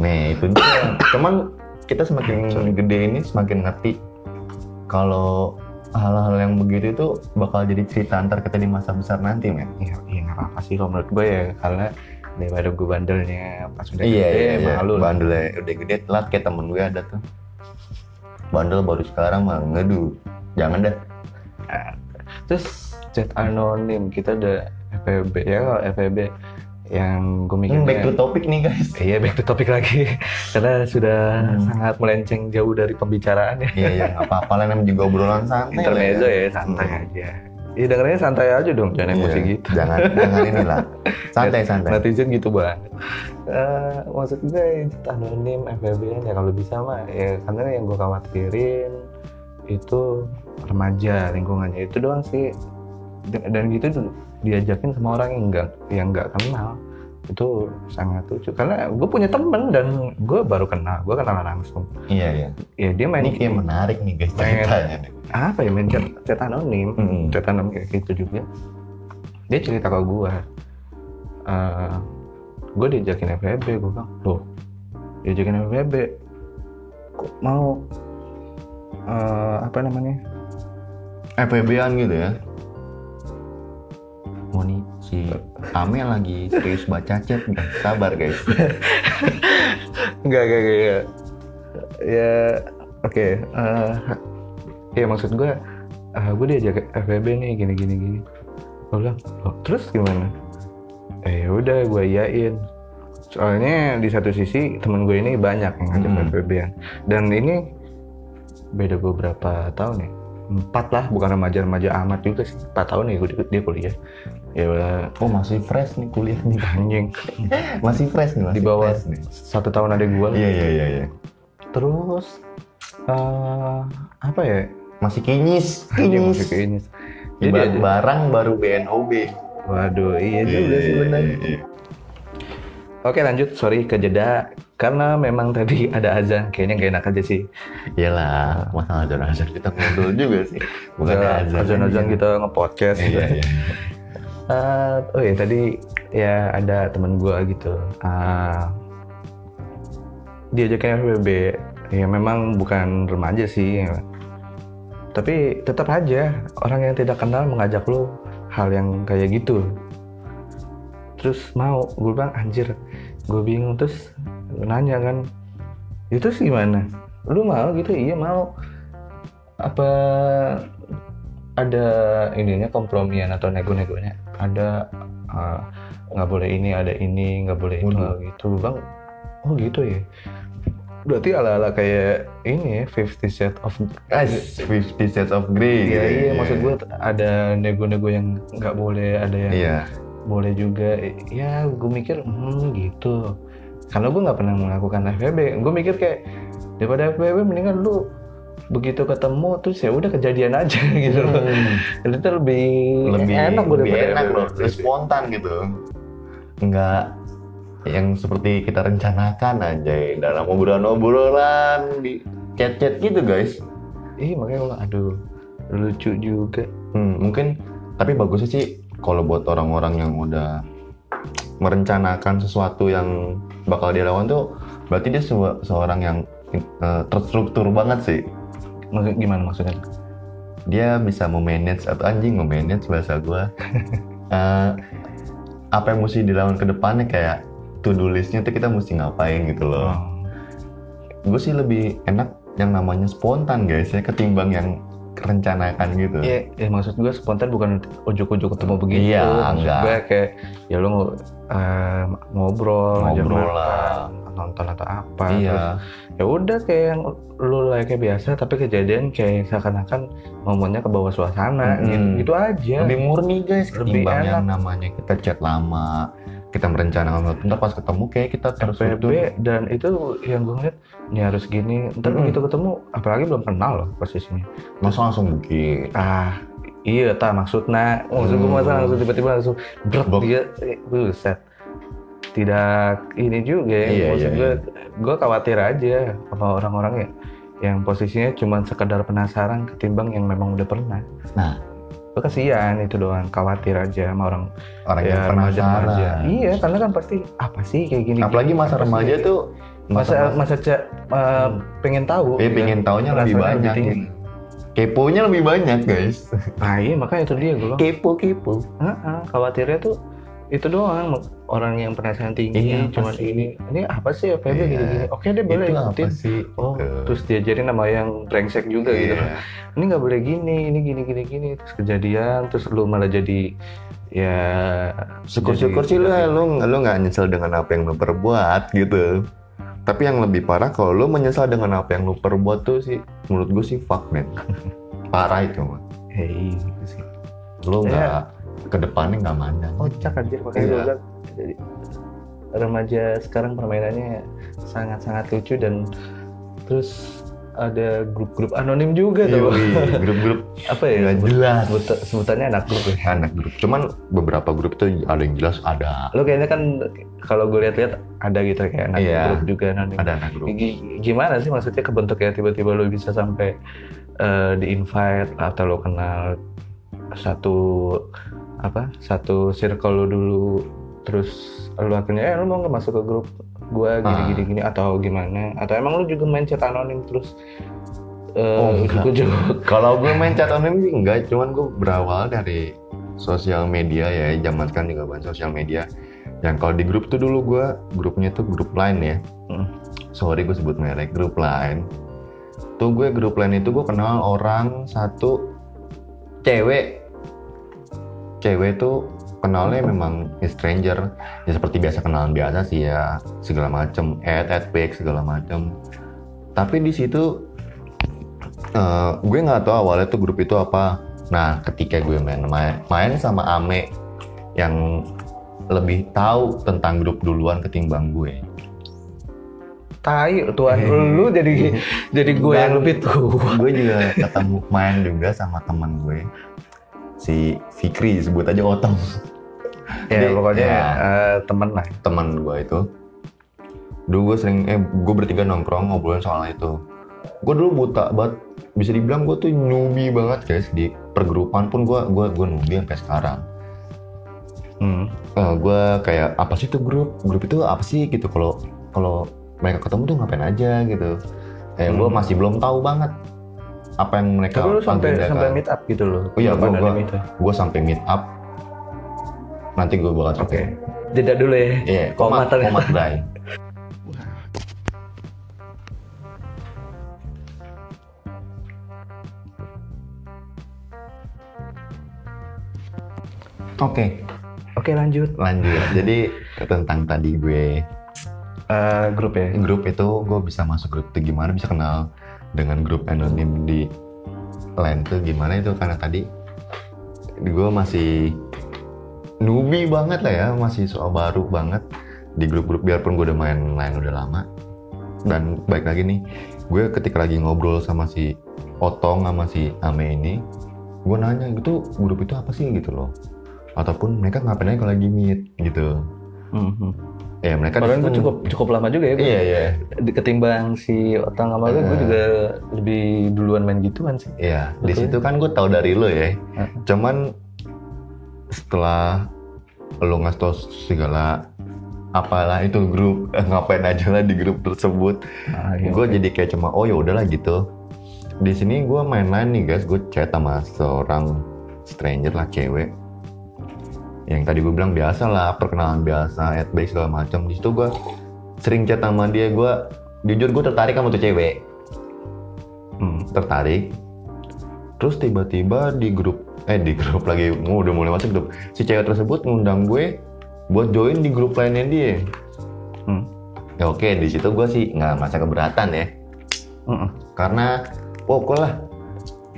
Speaker 2: nih itu dia cuman kita semakin gede ini semakin ngerti kalau hal-hal yang begitu itu bakal jadi cerita antar kita di masa besar nanti men
Speaker 1: Ya, ya nggak apa-apa sih kalau menurut gue ya karena daripada gue bandelnya pas udah
Speaker 2: Iya,
Speaker 1: gede, malu lah.
Speaker 2: bandelnya ya. udah gede telat kayak temen gue ada tuh bandel baru sekarang mah ngedu jangan dah
Speaker 1: Terus chat anonim kita ada FEB ya kalau FEB yang gue
Speaker 2: Hmm, back to
Speaker 1: mikirnya
Speaker 2: topic nih guys
Speaker 1: Iya back to topic lagi karena sudah
Speaker 2: Hmm.
Speaker 1: sangat melenceng jauh dari pembicaraan ya.
Speaker 2: Iya iya nggak apa-apa lah namanya juga obrolan santai. lah
Speaker 1: Intermezzo ya santai aja. Iya dengernya santai aja dong jangan emosi
Speaker 2: Iya,
Speaker 1: gitu.
Speaker 2: Jangan jangan inilah. Santai santai.
Speaker 1: Netizen gitu banget. Eh, maksud gue yang chat anonim FEB ya kalau bisa mah ya karena yang gue khawatirin itu remaja lingkungannya itu doang sih dan, dan gitu tuh diajakin sama orang yang nggak yang nggak kenal itu sangat lucu karena gue punya temen dan gue baru kenal gue kenal langsung
Speaker 2: Iya iya.
Speaker 1: ya dia
Speaker 2: Ini
Speaker 1: main
Speaker 2: kayak menarik nih guys
Speaker 1: Pengen.
Speaker 2: ceritanya. nih.
Speaker 1: apa ya main chat, chat anonim
Speaker 2: Mm-mm.
Speaker 1: cerita tanam kayak gitu juga dia cerita ke gue Eh gue diajakin FBB gue bilang loh diajakin FBB kok mau eh apa namanya
Speaker 2: FBB-an gitu ya. Oh nih si Amel lagi serius baca chat guys. Sabar guys.
Speaker 1: enggak enggak enggak enggak. ya oke Eh ya maksud gue gue diajak FBB nih gini gini gini gue bilang "Loh, terus gimana eh udah gue iyain soalnya di satu sisi temen gue ini banyak yang ngajak
Speaker 2: Hmm.
Speaker 1: FBB -an. dan ini beda gue berapa tahun ya empat lah bukan remaja-remaja amat juga sih empat tahun ya gue dia kuliah ya udah,
Speaker 2: Oh masih fresh nih kuliah nih.
Speaker 1: anjing
Speaker 2: Masih fresh nih.
Speaker 1: Di
Speaker 2: Masih
Speaker 1: bawah.
Speaker 2: fresh nih.
Speaker 1: satu tahun ada gue
Speaker 2: Iya iya iya. iya.
Speaker 1: terus eh apa ya
Speaker 2: Masih kinyis.
Speaker 1: Dia
Speaker 2: Kinyis.
Speaker 1: masuk ke ini jadi
Speaker 2: Ibarat
Speaker 1: aja-
Speaker 2: barang baru BNOB.
Speaker 1: waduh iya juga sih benar
Speaker 2: iya, iya.
Speaker 1: oke lanjut sorry ke jeda karena memang tadi ada azan kayaknya gak enak aja sih
Speaker 2: Iyalah, masalah azan-azan kita ngobrol juga sih. Bukan azan.
Speaker 1: azan azan kita gitu, ngepodcast
Speaker 2: Iya, iya.
Speaker 1: Eh, oh ya tadi ya ada teman gua gitu eh, diajakin FBB ya memang bukan remaja sih ya. tapi tetap aja orang yang tidak kenal mengajak lu hal yang kayak gitu terus mau gue bilang anjir gue bingung terus gua nanya kan itu terus gimana lu mau gitu iya mau apa ada ininya kompromian atau nego-negonya ada eh, nggak boleh ini ada ini nggak boleh itu
Speaker 2: Waduh.
Speaker 1: nggak gitu Gua bilang oh gitu ya berarti ala-ala kayak ini ya, 50 set of
Speaker 2: Guys, 50 Shades of
Speaker 1: Iya,
Speaker 2: Grey. gitu ya.
Speaker 1: iya, maksud gue ada nego-nego yang nggak boleh, ada yang
Speaker 2: Iya.
Speaker 1: boleh juga. Ya, gue mikir, hmm gitu. Karena gue nggak pernah melakukan FBB, gue mikir kayak daripada FBB mendingan lu begitu ketemu terus ya udah kejadian aja gitu loh. Itu tuh lebih,
Speaker 2: Hmm. Lebih
Speaker 1: enak gue
Speaker 2: lebih
Speaker 1: daripada
Speaker 2: enak
Speaker 1: FBB.
Speaker 2: loh, lebih spontan gitu. Enggak yang seperti kita rencanakan aja dalam obrolan-obrolan di chat-chat gitu guys.
Speaker 1: Ih iya, makanya gue bilang, aduh lucu juga.
Speaker 2: Hmm, mungkin tapi bagusnya sih kalau buat orang-orang yang udah merencanakan sesuatu yang bakal dia lawan tuh berarti dia sewa- seorang yang eh, terstruktur banget sih.
Speaker 1: Maksud, gimana maksudnya?
Speaker 2: Dia bisa memanage atau anjing memanage bahasa gua. Eh, apa yang mesti dilawan ke depannya kayak to do listnya tuh kita mesti ngapain gitu loh.
Speaker 1: Hmm.
Speaker 2: Gue sih lebih enak yang namanya spontan guys ya ketimbang yang kerencanakan gitu.
Speaker 1: Iya, ya, maksud gue spontan bukan ujuk-ujuk ketemu begitu.
Speaker 2: Iya,
Speaker 1: maksud
Speaker 2: enggak.
Speaker 1: Gue kayak ya lu eh, ngobrol, ngajak
Speaker 2: Ngobrol
Speaker 1: makan,
Speaker 2: lah.
Speaker 1: nonton atau apa.
Speaker 2: Iya.
Speaker 1: Terus ya udah kayak yang lu lah kayak biasa, tapi kejadian kayak seakan-akan momennya ke bawah suasana
Speaker 2: Mm-mm.
Speaker 1: gitu, gitu aja.
Speaker 2: lebih murni guys
Speaker 1: Lebih
Speaker 2: ketimbang
Speaker 1: enak.
Speaker 2: yang namanya kita chat lama kita merencanakan waktu ntar pas ketemu kayak kita terus
Speaker 1: PB dan itu yang gue ngeliat ini harus gini ntar
Speaker 2: Mm-mm.
Speaker 1: begitu ketemu apalagi belum kenal loh posisinya
Speaker 2: masa langsung bukit
Speaker 1: ah iya tak maksudnya maksud gue masa
Speaker 2: Hmm.
Speaker 1: langsung tiba-tiba langsung berat
Speaker 2: Bok.
Speaker 1: dia eh, buset tidak ini juga ya
Speaker 2: Iya,
Speaker 1: maksud
Speaker 2: iya,
Speaker 1: gue gue khawatir aja apa orang-orang ya yang posisinya cuma sekedar penasaran ketimbang yang memang udah pernah
Speaker 2: Nah.
Speaker 1: gue kasihan itu doang khawatir aja sama orang
Speaker 2: orang yang
Speaker 1: ya, remaja-remaja
Speaker 2: penasaran
Speaker 1: iya karena kan pasti apa sih kayak gini
Speaker 2: apalagi masa
Speaker 1: Apa sih
Speaker 2: remaja
Speaker 1: kayak
Speaker 2: tuh
Speaker 1: masa masa cek eh, pengen tahu
Speaker 2: eh, pengen taunya
Speaker 1: Penasaran Iya. lebih
Speaker 2: lebih banyak
Speaker 1: tinggi.
Speaker 2: gitu. keponya lebih banyak guys
Speaker 1: nah iya makanya itu dia gue bilang
Speaker 2: kepo kepo
Speaker 1: "Heeh, khawatirnya tuh itu doang orang yang penasaran tinggi
Speaker 2: Ini apa
Speaker 1: cuman
Speaker 2: sih?
Speaker 1: ini ini apa sih FPB
Speaker 2: Iya.
Speaker 1: gini gini oke deh boleh
Speaker 2: itu apa
Speaker 1: ikutin
Speaker 2: sih
Speaker 1: oh
Speaker 2: Gitu.
Speaker 1: terus diajarin sama yang brengsek juga gitu
Speaker 2: Iya.
Speaker 1: ini nggak boleh gini ini gini gini gini terus kejadian terus lu malah jadi ya
Speaker 2: Syukur-syukur
Speaker 1: jadi-
Speaker 2: sih lu, lu, lu gak nyesel dengan apa yang lu perbuat gitu. Tapi yang lebih parah kalau lu menyesal dengan apa yang lu perbuat tuh sih, menurut gue sih fuck man. parah itu mah.
Speaker 1: hei gitu sih
Speaker 2: Lu
Speaker 1: Iya.
Speaker 2: nggak ke depannya nggak mandang.
Speaker 1: kocak anjir makanya
Speaker 2: Iya.
Speaker 1: gue bilang jadi, remaja sekarang permainannya sangat-sangat lucu dan terus ada grup-grup anonim juga tuh
Speaker 2: Yoi, grup-grup
Speaker 1: apa ya
Speaker 2: nggak jelas.
Speaker 1: sebut- sebutannya anak grup ya
Speaker 2: Anak grup. Cuman beberapa grup tuh ada yang jelas ada.
Speaker 1: lo kayaknya kan kalau gue lihat-lihat ada gitu kayak anak
Speaker 2: Iya.
Speaker 1: grup juga anonim
Speaker 2: Ada anak grup.
Speaker 1: G- gimana sih maksudnya kebentuknya tiba-tiba lo bisa sampai eh, di invite atau lo kenal satu apa satu circle lo dulu terus lo akhirnya eh lo mau nggak masuk ke grup gua gini
Speaker 2: Ah.
Speaker 1: gini gini atau gimana atau emang lo juga main chat anonim terus
Speaker 2: Oh,
Speaker 1: eh
Speaker 2: enggak.
Speaker 1: ujuk-ujuk?
Speaker 2: Kalau gue main chat online sih enggak, cuman gue berawal dari sosial media ya, zaman sekarang juga banyak sosial media. Yang kalau di grup tuh dulu gue, grupnya tuh grup lain ya.
Speaker 1: Hmm.
Speaker 2: Sorry gue sebut merek, grup lain. Tuh gue grup lain itu gue kenal orang satu cewek. Cewek tuh kenalnya memang stranger, ya seperti biasa kenalan biasa sih ya, segala macem, add, add back, segala macem. Tapi di situ Eh, gue nggak tahu awalnya tuh grup itu apa. Nah, ketika gue main main, main sama Ame yang lebih tahu tentang grup duluan ketimbang gue.
Speaker 1: tai tuan
Speaker 2: Eh.
Speaker 1: lu jadi jadi gue yang
Speaker 2: Dan-
Speaker 1: lebih tua
Speaker 2: Gue juga ketemu main juga sama teman gue si Fikri sebut aja Otong
Speaker 1: ya
Speaker 2: Jadi,
Speaker 1: pokoknya
Speaker 2: ya.
Speaker 1: eh, temen lah
Speaker 2: teman gue itu. Dulu gue sering eh gue bertiga nongkrong ngobrolin soal itu. Gue dulu buta banget bisa dibilang gue tuh newbie banget guys di pergrupan pun gue gue gue newbie sampai sekarang.
Speaker 1: Hmm.
Speaker 2: eh gue kayak apa sih itu grup grup itu apa sih gitu kalau kalau mereka ketemu tuh ngapain aja gitu kayak gue
Speaker 1: Hmm.
Speaker 2: masih belum tahu banget apa yang mereka
Speaker 1: Tapi lu sampai sampai
Speaker 2: agendakan.
Speaker 1: meet up gitu loh.
Speaker 2: Oh iya,
Speaker 1: Kapan
Speaker 2: gua-
Speaker 1: ada
Speaker 2: gua-
Speaker 1: meet up?
Speaker 2: gue sampai meet up nanti gue bakal
Speaker 1: Oke.
Speaker 2: ceritain.
Speaker 1: Jeda dulu ya.
Speaker 2: iya
Speaker 1: Komat
Speaker 2: komat
Speaker 1: ternyata.
Speaker 2: komat Bray. Oke,
Speaker 1: Oke, lanjut.
Speaker 2: lanjut. Jadi tentang tadi gue
Speaker 1: Eh, grup ya.
Speaker 2: grup itu gue bisa masuk grup itu gimana bisa kenal dengan grup anonim di lain tuh gimana itu karena tadi gue masih newbie banget lah ya masih soal baru banget di grup-grup biarpun gue udah main lain udah lama dan baik lagi nih gue ketika lagi ngobrol sama si Otong sama si Ame ini gue nanya itu grup itu apa sih gitu loh ataupun mereka ngapain aja kalau lagi meet gitu
Speaker 1: Mhm.
Speaker 2: ya mereka di
Speaker 1: Bahkan gue
Speaker 2: situ-
Speaker 1: cukup cukup lama juga ya. gua.
Speaker 2: iya iya
Speaker 1: Di- Ketimbang si Otang sama lu, gue
Speaker 2: Iya.
Speaker 1: juga lebih duluan main gituan sih.
Speaker 2: iya di
Speaker 1: Betul.
Speaker 2: situ kan gue tahu dari lo ya
Speaker 1: Heeh.
Speaker 2: cuman setelah lo ngasih tau segala apalah itu grup eh, ngapain aja lah di grup tersebut
Speaker 1: Ah, Iya,
Speaker 2: gue jadi kayak cuma oh ya udahlah gitu di sini gue main-main nih guys gue chat sama seorang stranger lah cewek yang tadi gue bilang biasa lah perkenalan biasa at base segala macam di situ gue sering chat sama dia gue jujur gue tertarik sama tuh cewek Hmm, tertarik terus tiba-tiba di grup eh di grup lagi oh, udah mulai masuk grup si cewek tersebut ngundang gue buat join di grup lainnya dia
Speaker 1: Hmm.
Speaker 2: ya oke di situ gue sih nggak masa keberatan ya
Speaker 1: Mm-mm.
Speaker 2: karena pokoknya lah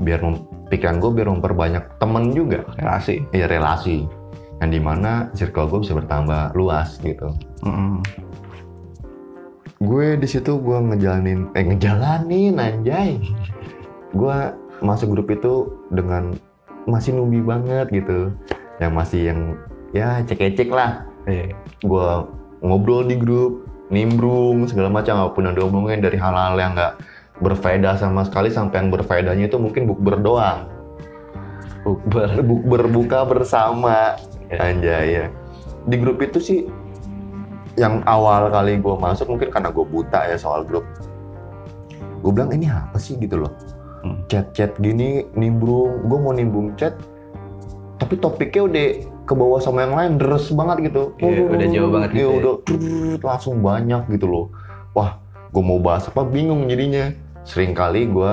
Speaker 2: biar mem- pikiran gue biar memperbanyak temen juga
Speaker 1: Relasi.
Speaker 2: ya relasi yang dimana circle gue bisa bertambah luas gitu
Speaker 1: Mm-mm.
Speaker 2: gue di situ gue ngejalanin eh ngejalanin anjay gue masuk grup itu dengan masih nubi banget gitu yang masih yang ya cek-cek lah
Speaker 1: Iya.
Speaker 2: gue ngobrol di grup nimbrung segala macam apapun yang diomongin dari hal-hal yang nggak berfaedah sama sekali sampai yang berfaedahnya itu mungkin bukber doang
Speaker 1: Bukber.
Speaker 2: bukber buka bersama anjay ya di grup itu sih yang awal kali gue masuk mungkin karena gue buta ya soal grup gue bilang ini apa sih gitu loh
Speaker 1: Hmm.
Speaker 2: chat-chat gini nimbrung gue mau nimbrung chat tapi topiknya udah ke bawah sama yang lain deres banget gitu
Speaker 1: Iya, udah jauh banget
Speaker 2: Iya,
Speaker 1: gitu ya.
Speaker 2: udah trrrr, langsung banyak gitu loh wah gue mau bahas apa bingung jadinya sering kali gue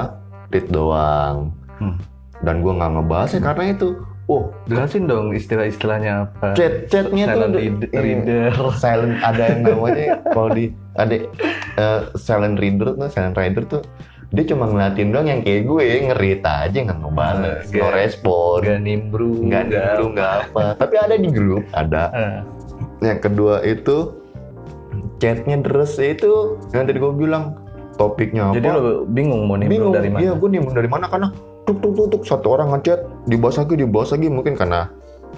Speaker 2: read doang
Speaker 1: Hmm.
Speaker 2: dan gue nggak ngebahasnya karena itu oh
Speaker 1: Jelasin dong istilah-istilahnya apa.
Speaker 2: chat-chatnya tuh
Speaker 1: Silent
Speaker 2: udah-
Speaker 1: read-
Speaker 2: iya
Speaker 1: reader.
Speaker 2: silent ada yang namanya kalau di ada eh, silent reader tuh silent reader tuh dia cuma ngeliatin doang yang kayak gue ngerit aja nggak ngebales
Speaker 1: Iya.
Speaker 2: no respon
Speaker 1: Gak nimbrung.
Speaker 2: nggak dulu nggak apa tapi ada di grup ada
Speaker 1: Eh,
Speaker 2: yang kedua itu chatnya deres itu yang tadi gue bilang topiknya apa
Speaker 1: Jadi lo bingung mau nimbrung
Speaker 2: bingung
Speaker 1: dari mana?
Speaker 2: iya gue nimbrung dari mana karena tuk tuk tuk tuk satu orang ngechat dibahas lagi dibahas lagi mungkin karena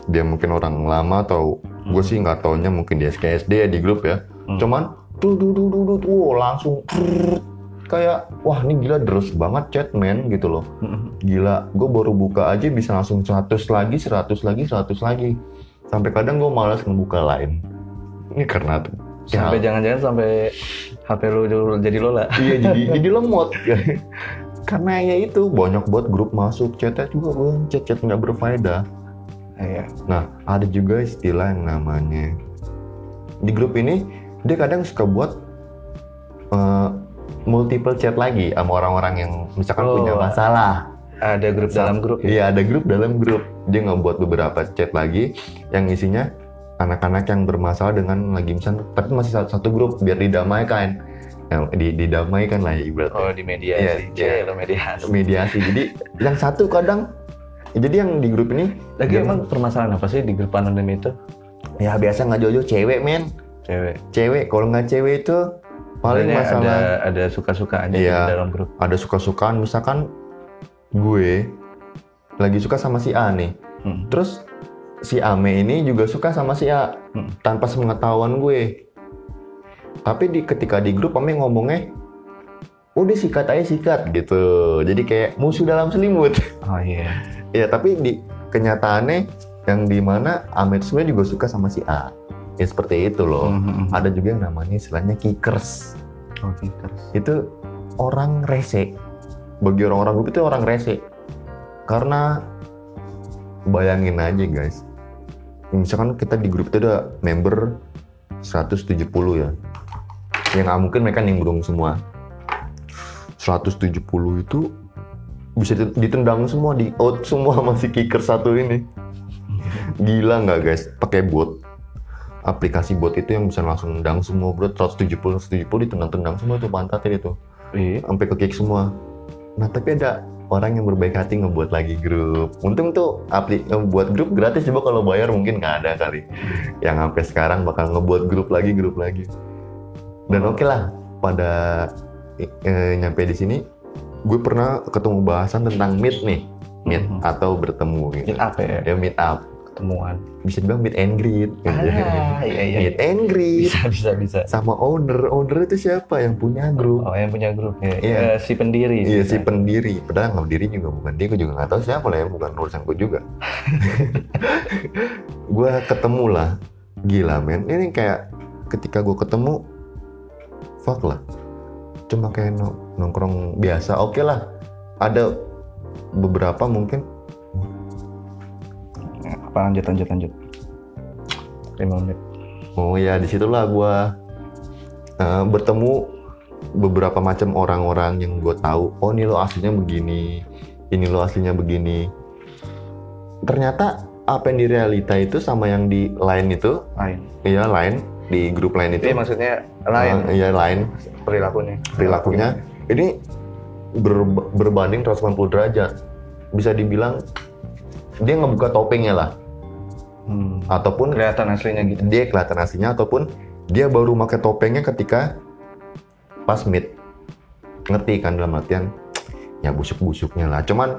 Speaker 2: dia mungkin orang lama atau gue sih nggak taunya mungkin di SKSD ya di grup ya
Speaker 1: Hmm.
Speaker 2: cuman tuh tuh tuh tuh langsung prrrt. kayak wah ini gila deres banget chat men gitu loh
Speaker 1: Mm-mm.
Speaker 2: gila gue baru buka aja bisa langsung 100 lagi 100 lagi 100 lagi sampai kadang gue malas ngebuka lain ini karena tuh ya,
Speaker 1: Sampai jangan-jangan sampai HP lu dulu jadi lola.
Speaker 2: iya jadi jadi lemot karena ya itu banyak buat grup masuk chatnya juga gue chat chat nggak berfaedah
Speaker 1: Iya.
Speaker 2: nah ada juga istilah yang namanya di grup ini dia kadang suka buat eh, multiple chat lagi sama orang-orang yang misalkan
Speaker 1: Oh.
Speaker 2: punya masalah
Speaker 1: Ada grup dalam grup. ya?
Speaker 2: Iya ada grup dalam grup. Dia ngebuat beberapa chat lagi yang isinya anak-anak yang bermasalah dengan lagi misalnya tapi masih satu, satu grup biar didamaikan. Ya, di, didamaikan lah ya ibaratnya.
Speaker 1: Oh di media
Speaker 2: Iya,
Speaker 1: sih. Cek,
Speaker 2: iya.
Speaker 1: lo mediasi.
Speaker 2: Mediasi. Jadi yang satu kadang jadi yang di grup ini
Speaker 1: Lagi
Speaker 2: dia-
Speaker 1: emang permasalahan apa sih di grup anonim itu?
Speaker 2: ya biasa nggak jojo cewek men.
Speaker 1: Cewek.
Speaker 2: Cewek kalau nggak cewek itu paling
Speaker 1: Sebenarnya
Speaker 2: masalah
Speaker 1: ada ada suka-sukaannya
Speaker 2: Iya.
Speaker 1: di dalam grup.
Speaker 2: ada suka-sukaan misalkan gue lagi suka sama si A nih.
Speaker 1: Hmm.
Speaker 2: Terus si Ame ini juga suka sama si A
Speaker 1: Hmm.
Speaker 2: tanpa sepengetahuan gue. Tapi di ketika di grup Ame ngomongnya udah sikat aja sikat gitu. Jadi kayak musuh dalam selimut.
Speaker 1: Oh iya.
Speaker 2: ya tapi di kenyataannya yang dimana Ame itu sebenarnya juga suka sama si A. Ya seperti itu loh.
Speaker 1: Mhm.
Speaker 2: Ada juga yang namanya istilahnya kickers.
Speaker 1: Oh,
Speaker 2: gitu,
Speaker 1: kickers.
Speaker 2: Itu orang rese. Bagi orang-orang grup itu orang rese. Karena bayangin aja guys misalkan kita di grup itu ada member 170 ya ya nggak mungkin mereka nimbrung semua 170 itu bisa dit- ditendang semua di out semua sama si kicker satu ini gila nggak guys pakai bot aplikasi bot itu yang bisa langsung nendang semua bro 170 170 ditendang-tendang semua tuh pantatnya itu
Speaker 1: Iya.
Speaker 2: sampai ke kick semua. Nah tapi ada orang yang berbaik hati ngebuat lagi grup. Untung tuh apli ngebuat grup gratis coba kalau bayar mungkin nggak ada kali. Yang sampai sekarang bakal ngebuat grup lagi grup lagi. Dan oke lah pada eh, nyampe di sini gue pernah ketemu bahasan tentang meet nih meet
Speaker 1: Mhm.
Speaker 2: atau bertemu
Speaker 1: Meet
Speaker 2: gitu.
Speaker 1: up ya.
Speaker 2: Ya meet up.
Speaker 1: temuan
Speaker 2: bisa dibilang meet and greet
Speaker 1: Ah, iya, iya.
Speaker 2: meet and greet
Speaker 1: bisa bisa bisa
Speaker 2: sama owner owner itu siapa yang punya grup
Speaker 1: oh yang punya grup ya
Speaker 2: Iya.
Speaker 1: Eh, si pendiri Nah.
Speaker 2: Iya si pendiri, padahal nggak pendiri juga bukan dia, gue juga nggak tahu siapa lah ya, bukan urusan gue juga. gue ketemu lah, gila men, ini kayak ketika gue ketemu, fuck lah, cuma kayak no- nongkrong biasa, oke lah, ada beberapa mungkin,
Speaker 1: apa lanjut lanjut lanjut lima menit
Speaker 2: oh ya disitulah gue eh, bertemu beberapa macam orang-orang yang gue tahu, oh ini lo aslinya begini, ini lo aslinya begini, ternyata apa yang di realita itu sama yang di lain itu
Speaker 1: lain
Speaker 2: iya lain di grup lain
Speaker 1: Jadi
Speaker 2: itu
Speaker 1: ya maksudnya Iya, lain
Speaker 2: Ah, iya lain
Speaker 1: perilakunya
Speaker 2: perilakunya ini ber- berbanding 180 derajat bisa dibilang dia ngebuka topengnya lah
Speaker 1: Hmm,
Speaker 2: ataupun
Speaker 1: kelihatan aslinya gitu
Speaker 2: dia kelihatan aslinya ataupun dia baru pakai topengnya ketika pas mid ngerti kan dalam artian ya busuk-busuknya lah cuman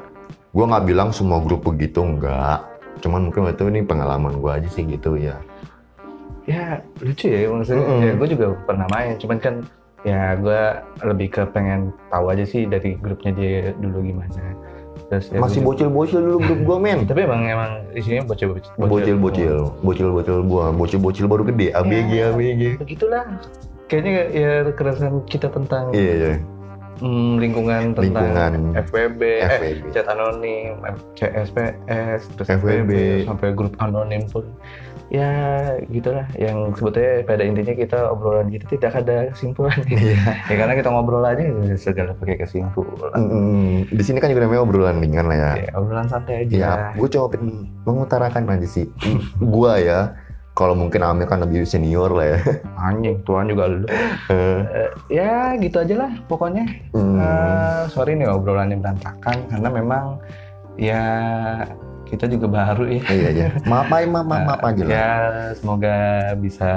Speaker 2: gua nggak bilang semua grup begitu enggak cuman mungkin waktu itu ini pengalaman gua aja sih gitu ya
Speaker 1: ya lucu ya maksudnya
Speaker 2: Mm-mm.
Speaker 1: ya, gue juga pernah main cuman kan ya gue lebih ke pengen tahu aja sih dari grupnya dia dulu gimana terus ya
Speaker 2: masih
Speaker 1: gua-
Speaker 2: bocil-bocil dulu grup gua men
Speaker 1: tapi emang emang isinya bocil bocil Oh.
Speaker 2: bocil-bocil bocil-bocil gua bocil-bocil baru gede abg
Speaker 1: Ya.
Speaker 2: abg
Speaker 1: begitulah kayaknya ya kerasan kita tentang
Speaker 2: iya iya
Speaker 1: hmm, lingkungan tentang
Speaker 2: Lingkungan.
Speaker 1: FWB, eh
Speaker 2: FWB.
Speaker 1: chat anonim CSPS terus
Speaker 2: FWB.
Speaker 1: sampai grup anonim pun ya gitulah yang sebetulnya pada intinya kita obrolan kita tidak ada kesimpulan
Speaker 2: iya
Speaker 1: ya karena kita ngobrol aja segala pakai kesimpulan
Speaker 2: Mm-mm. di sini kan juga namanya obrolan ringan lah ya
Speaker 1: ya obrolan santai aja
Speaker 2: Ya, gue coba pengen mengutarakan aja sih. gue ya, kalau mungkin Amir kan lebih senior lah ya.
Speaker 1: anjing tuan juga lu Eh, ya gitu aja lah pokoknya
Speaker 2: Hmm.
Speaker 1: Eh, sorry nih obrolannya berantakan karena memang ya kita juga baru ya
Speaker 2: Iya iya. Maaf aja, maaf, maaf, maaf aja lah.
Speaker 1: ya semoga bisa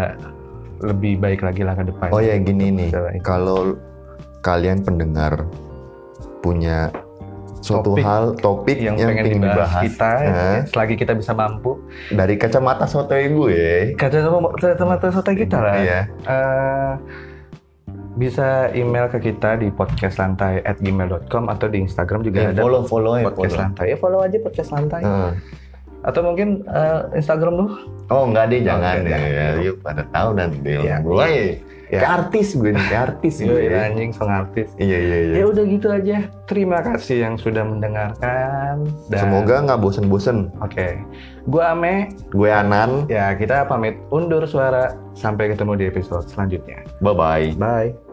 Speaker 1: lebih baik lagi lah ke depan
Speaker 2: Oh ya gini nih,
Speaker 1: Masalah itu.
Speaker 2: kalau kalian pendengar punya suatu
Speaker 1: Topik.
Speaker 2: hal topik
Speaker 1: yang,
Speaker 2: yang,
Speaker 1: pengen
Speaker 2: pengen
Speaker 1: dibahas,
Speaker 2: dibahas,
Speaker 1: kita
Speaker 2: eh,
Speaker 1: ya, selagi kita bisa mampu
Speaker 2: dari kacamata sotoy gue,
Speaker 1: kata teman-teman sota kita lah
Speaker 2: Iya.
Speaker 1: eh bisa email ke kita di podcastlantai@gmail.com atau di Instagram juga
Speaker 2: Ya,
Speaker 1: ada
Speaker 2: follow follow ya
Speaker 1: podcast
Speaker 2: follow.
Speaker 1: lantai. Ya follow aja podcast lantai.
Speaker 2: Eh.
Speaker 1: Atau mungkin eh, Instagram lu.
Speaker 2: Oh enggak deh jangan
Speaker 1: enggak,
Speaker 2: ya,
Speaker 1: jangan.
Speaker 2: ya. Yuk pada tahu nanti.
Speaker 1: Iya,
Speaker 2: gue
Speaker 1: iya.
Speaker 2: ya. Kayak artis gue nih, kayak artis gue.
Speaker 1: Yoi, anjing sang artis.
Speaker 2: Iya iya iya.
Speaker 1: Ya udah gitu aja. Terima kasih yang sudah mendengarkan. Dan-
Speaker 2: Semoga nggak bosen-bosen.
Speaker 1: Oke. Gua Ame.
Speaker 2: Gue Anan,
Speaker 1: Ya kita pamit undur suara. Sampai ketemu di episode selanjutnya.
Speaker 2: bye-bye.
Speaker 1: Bye.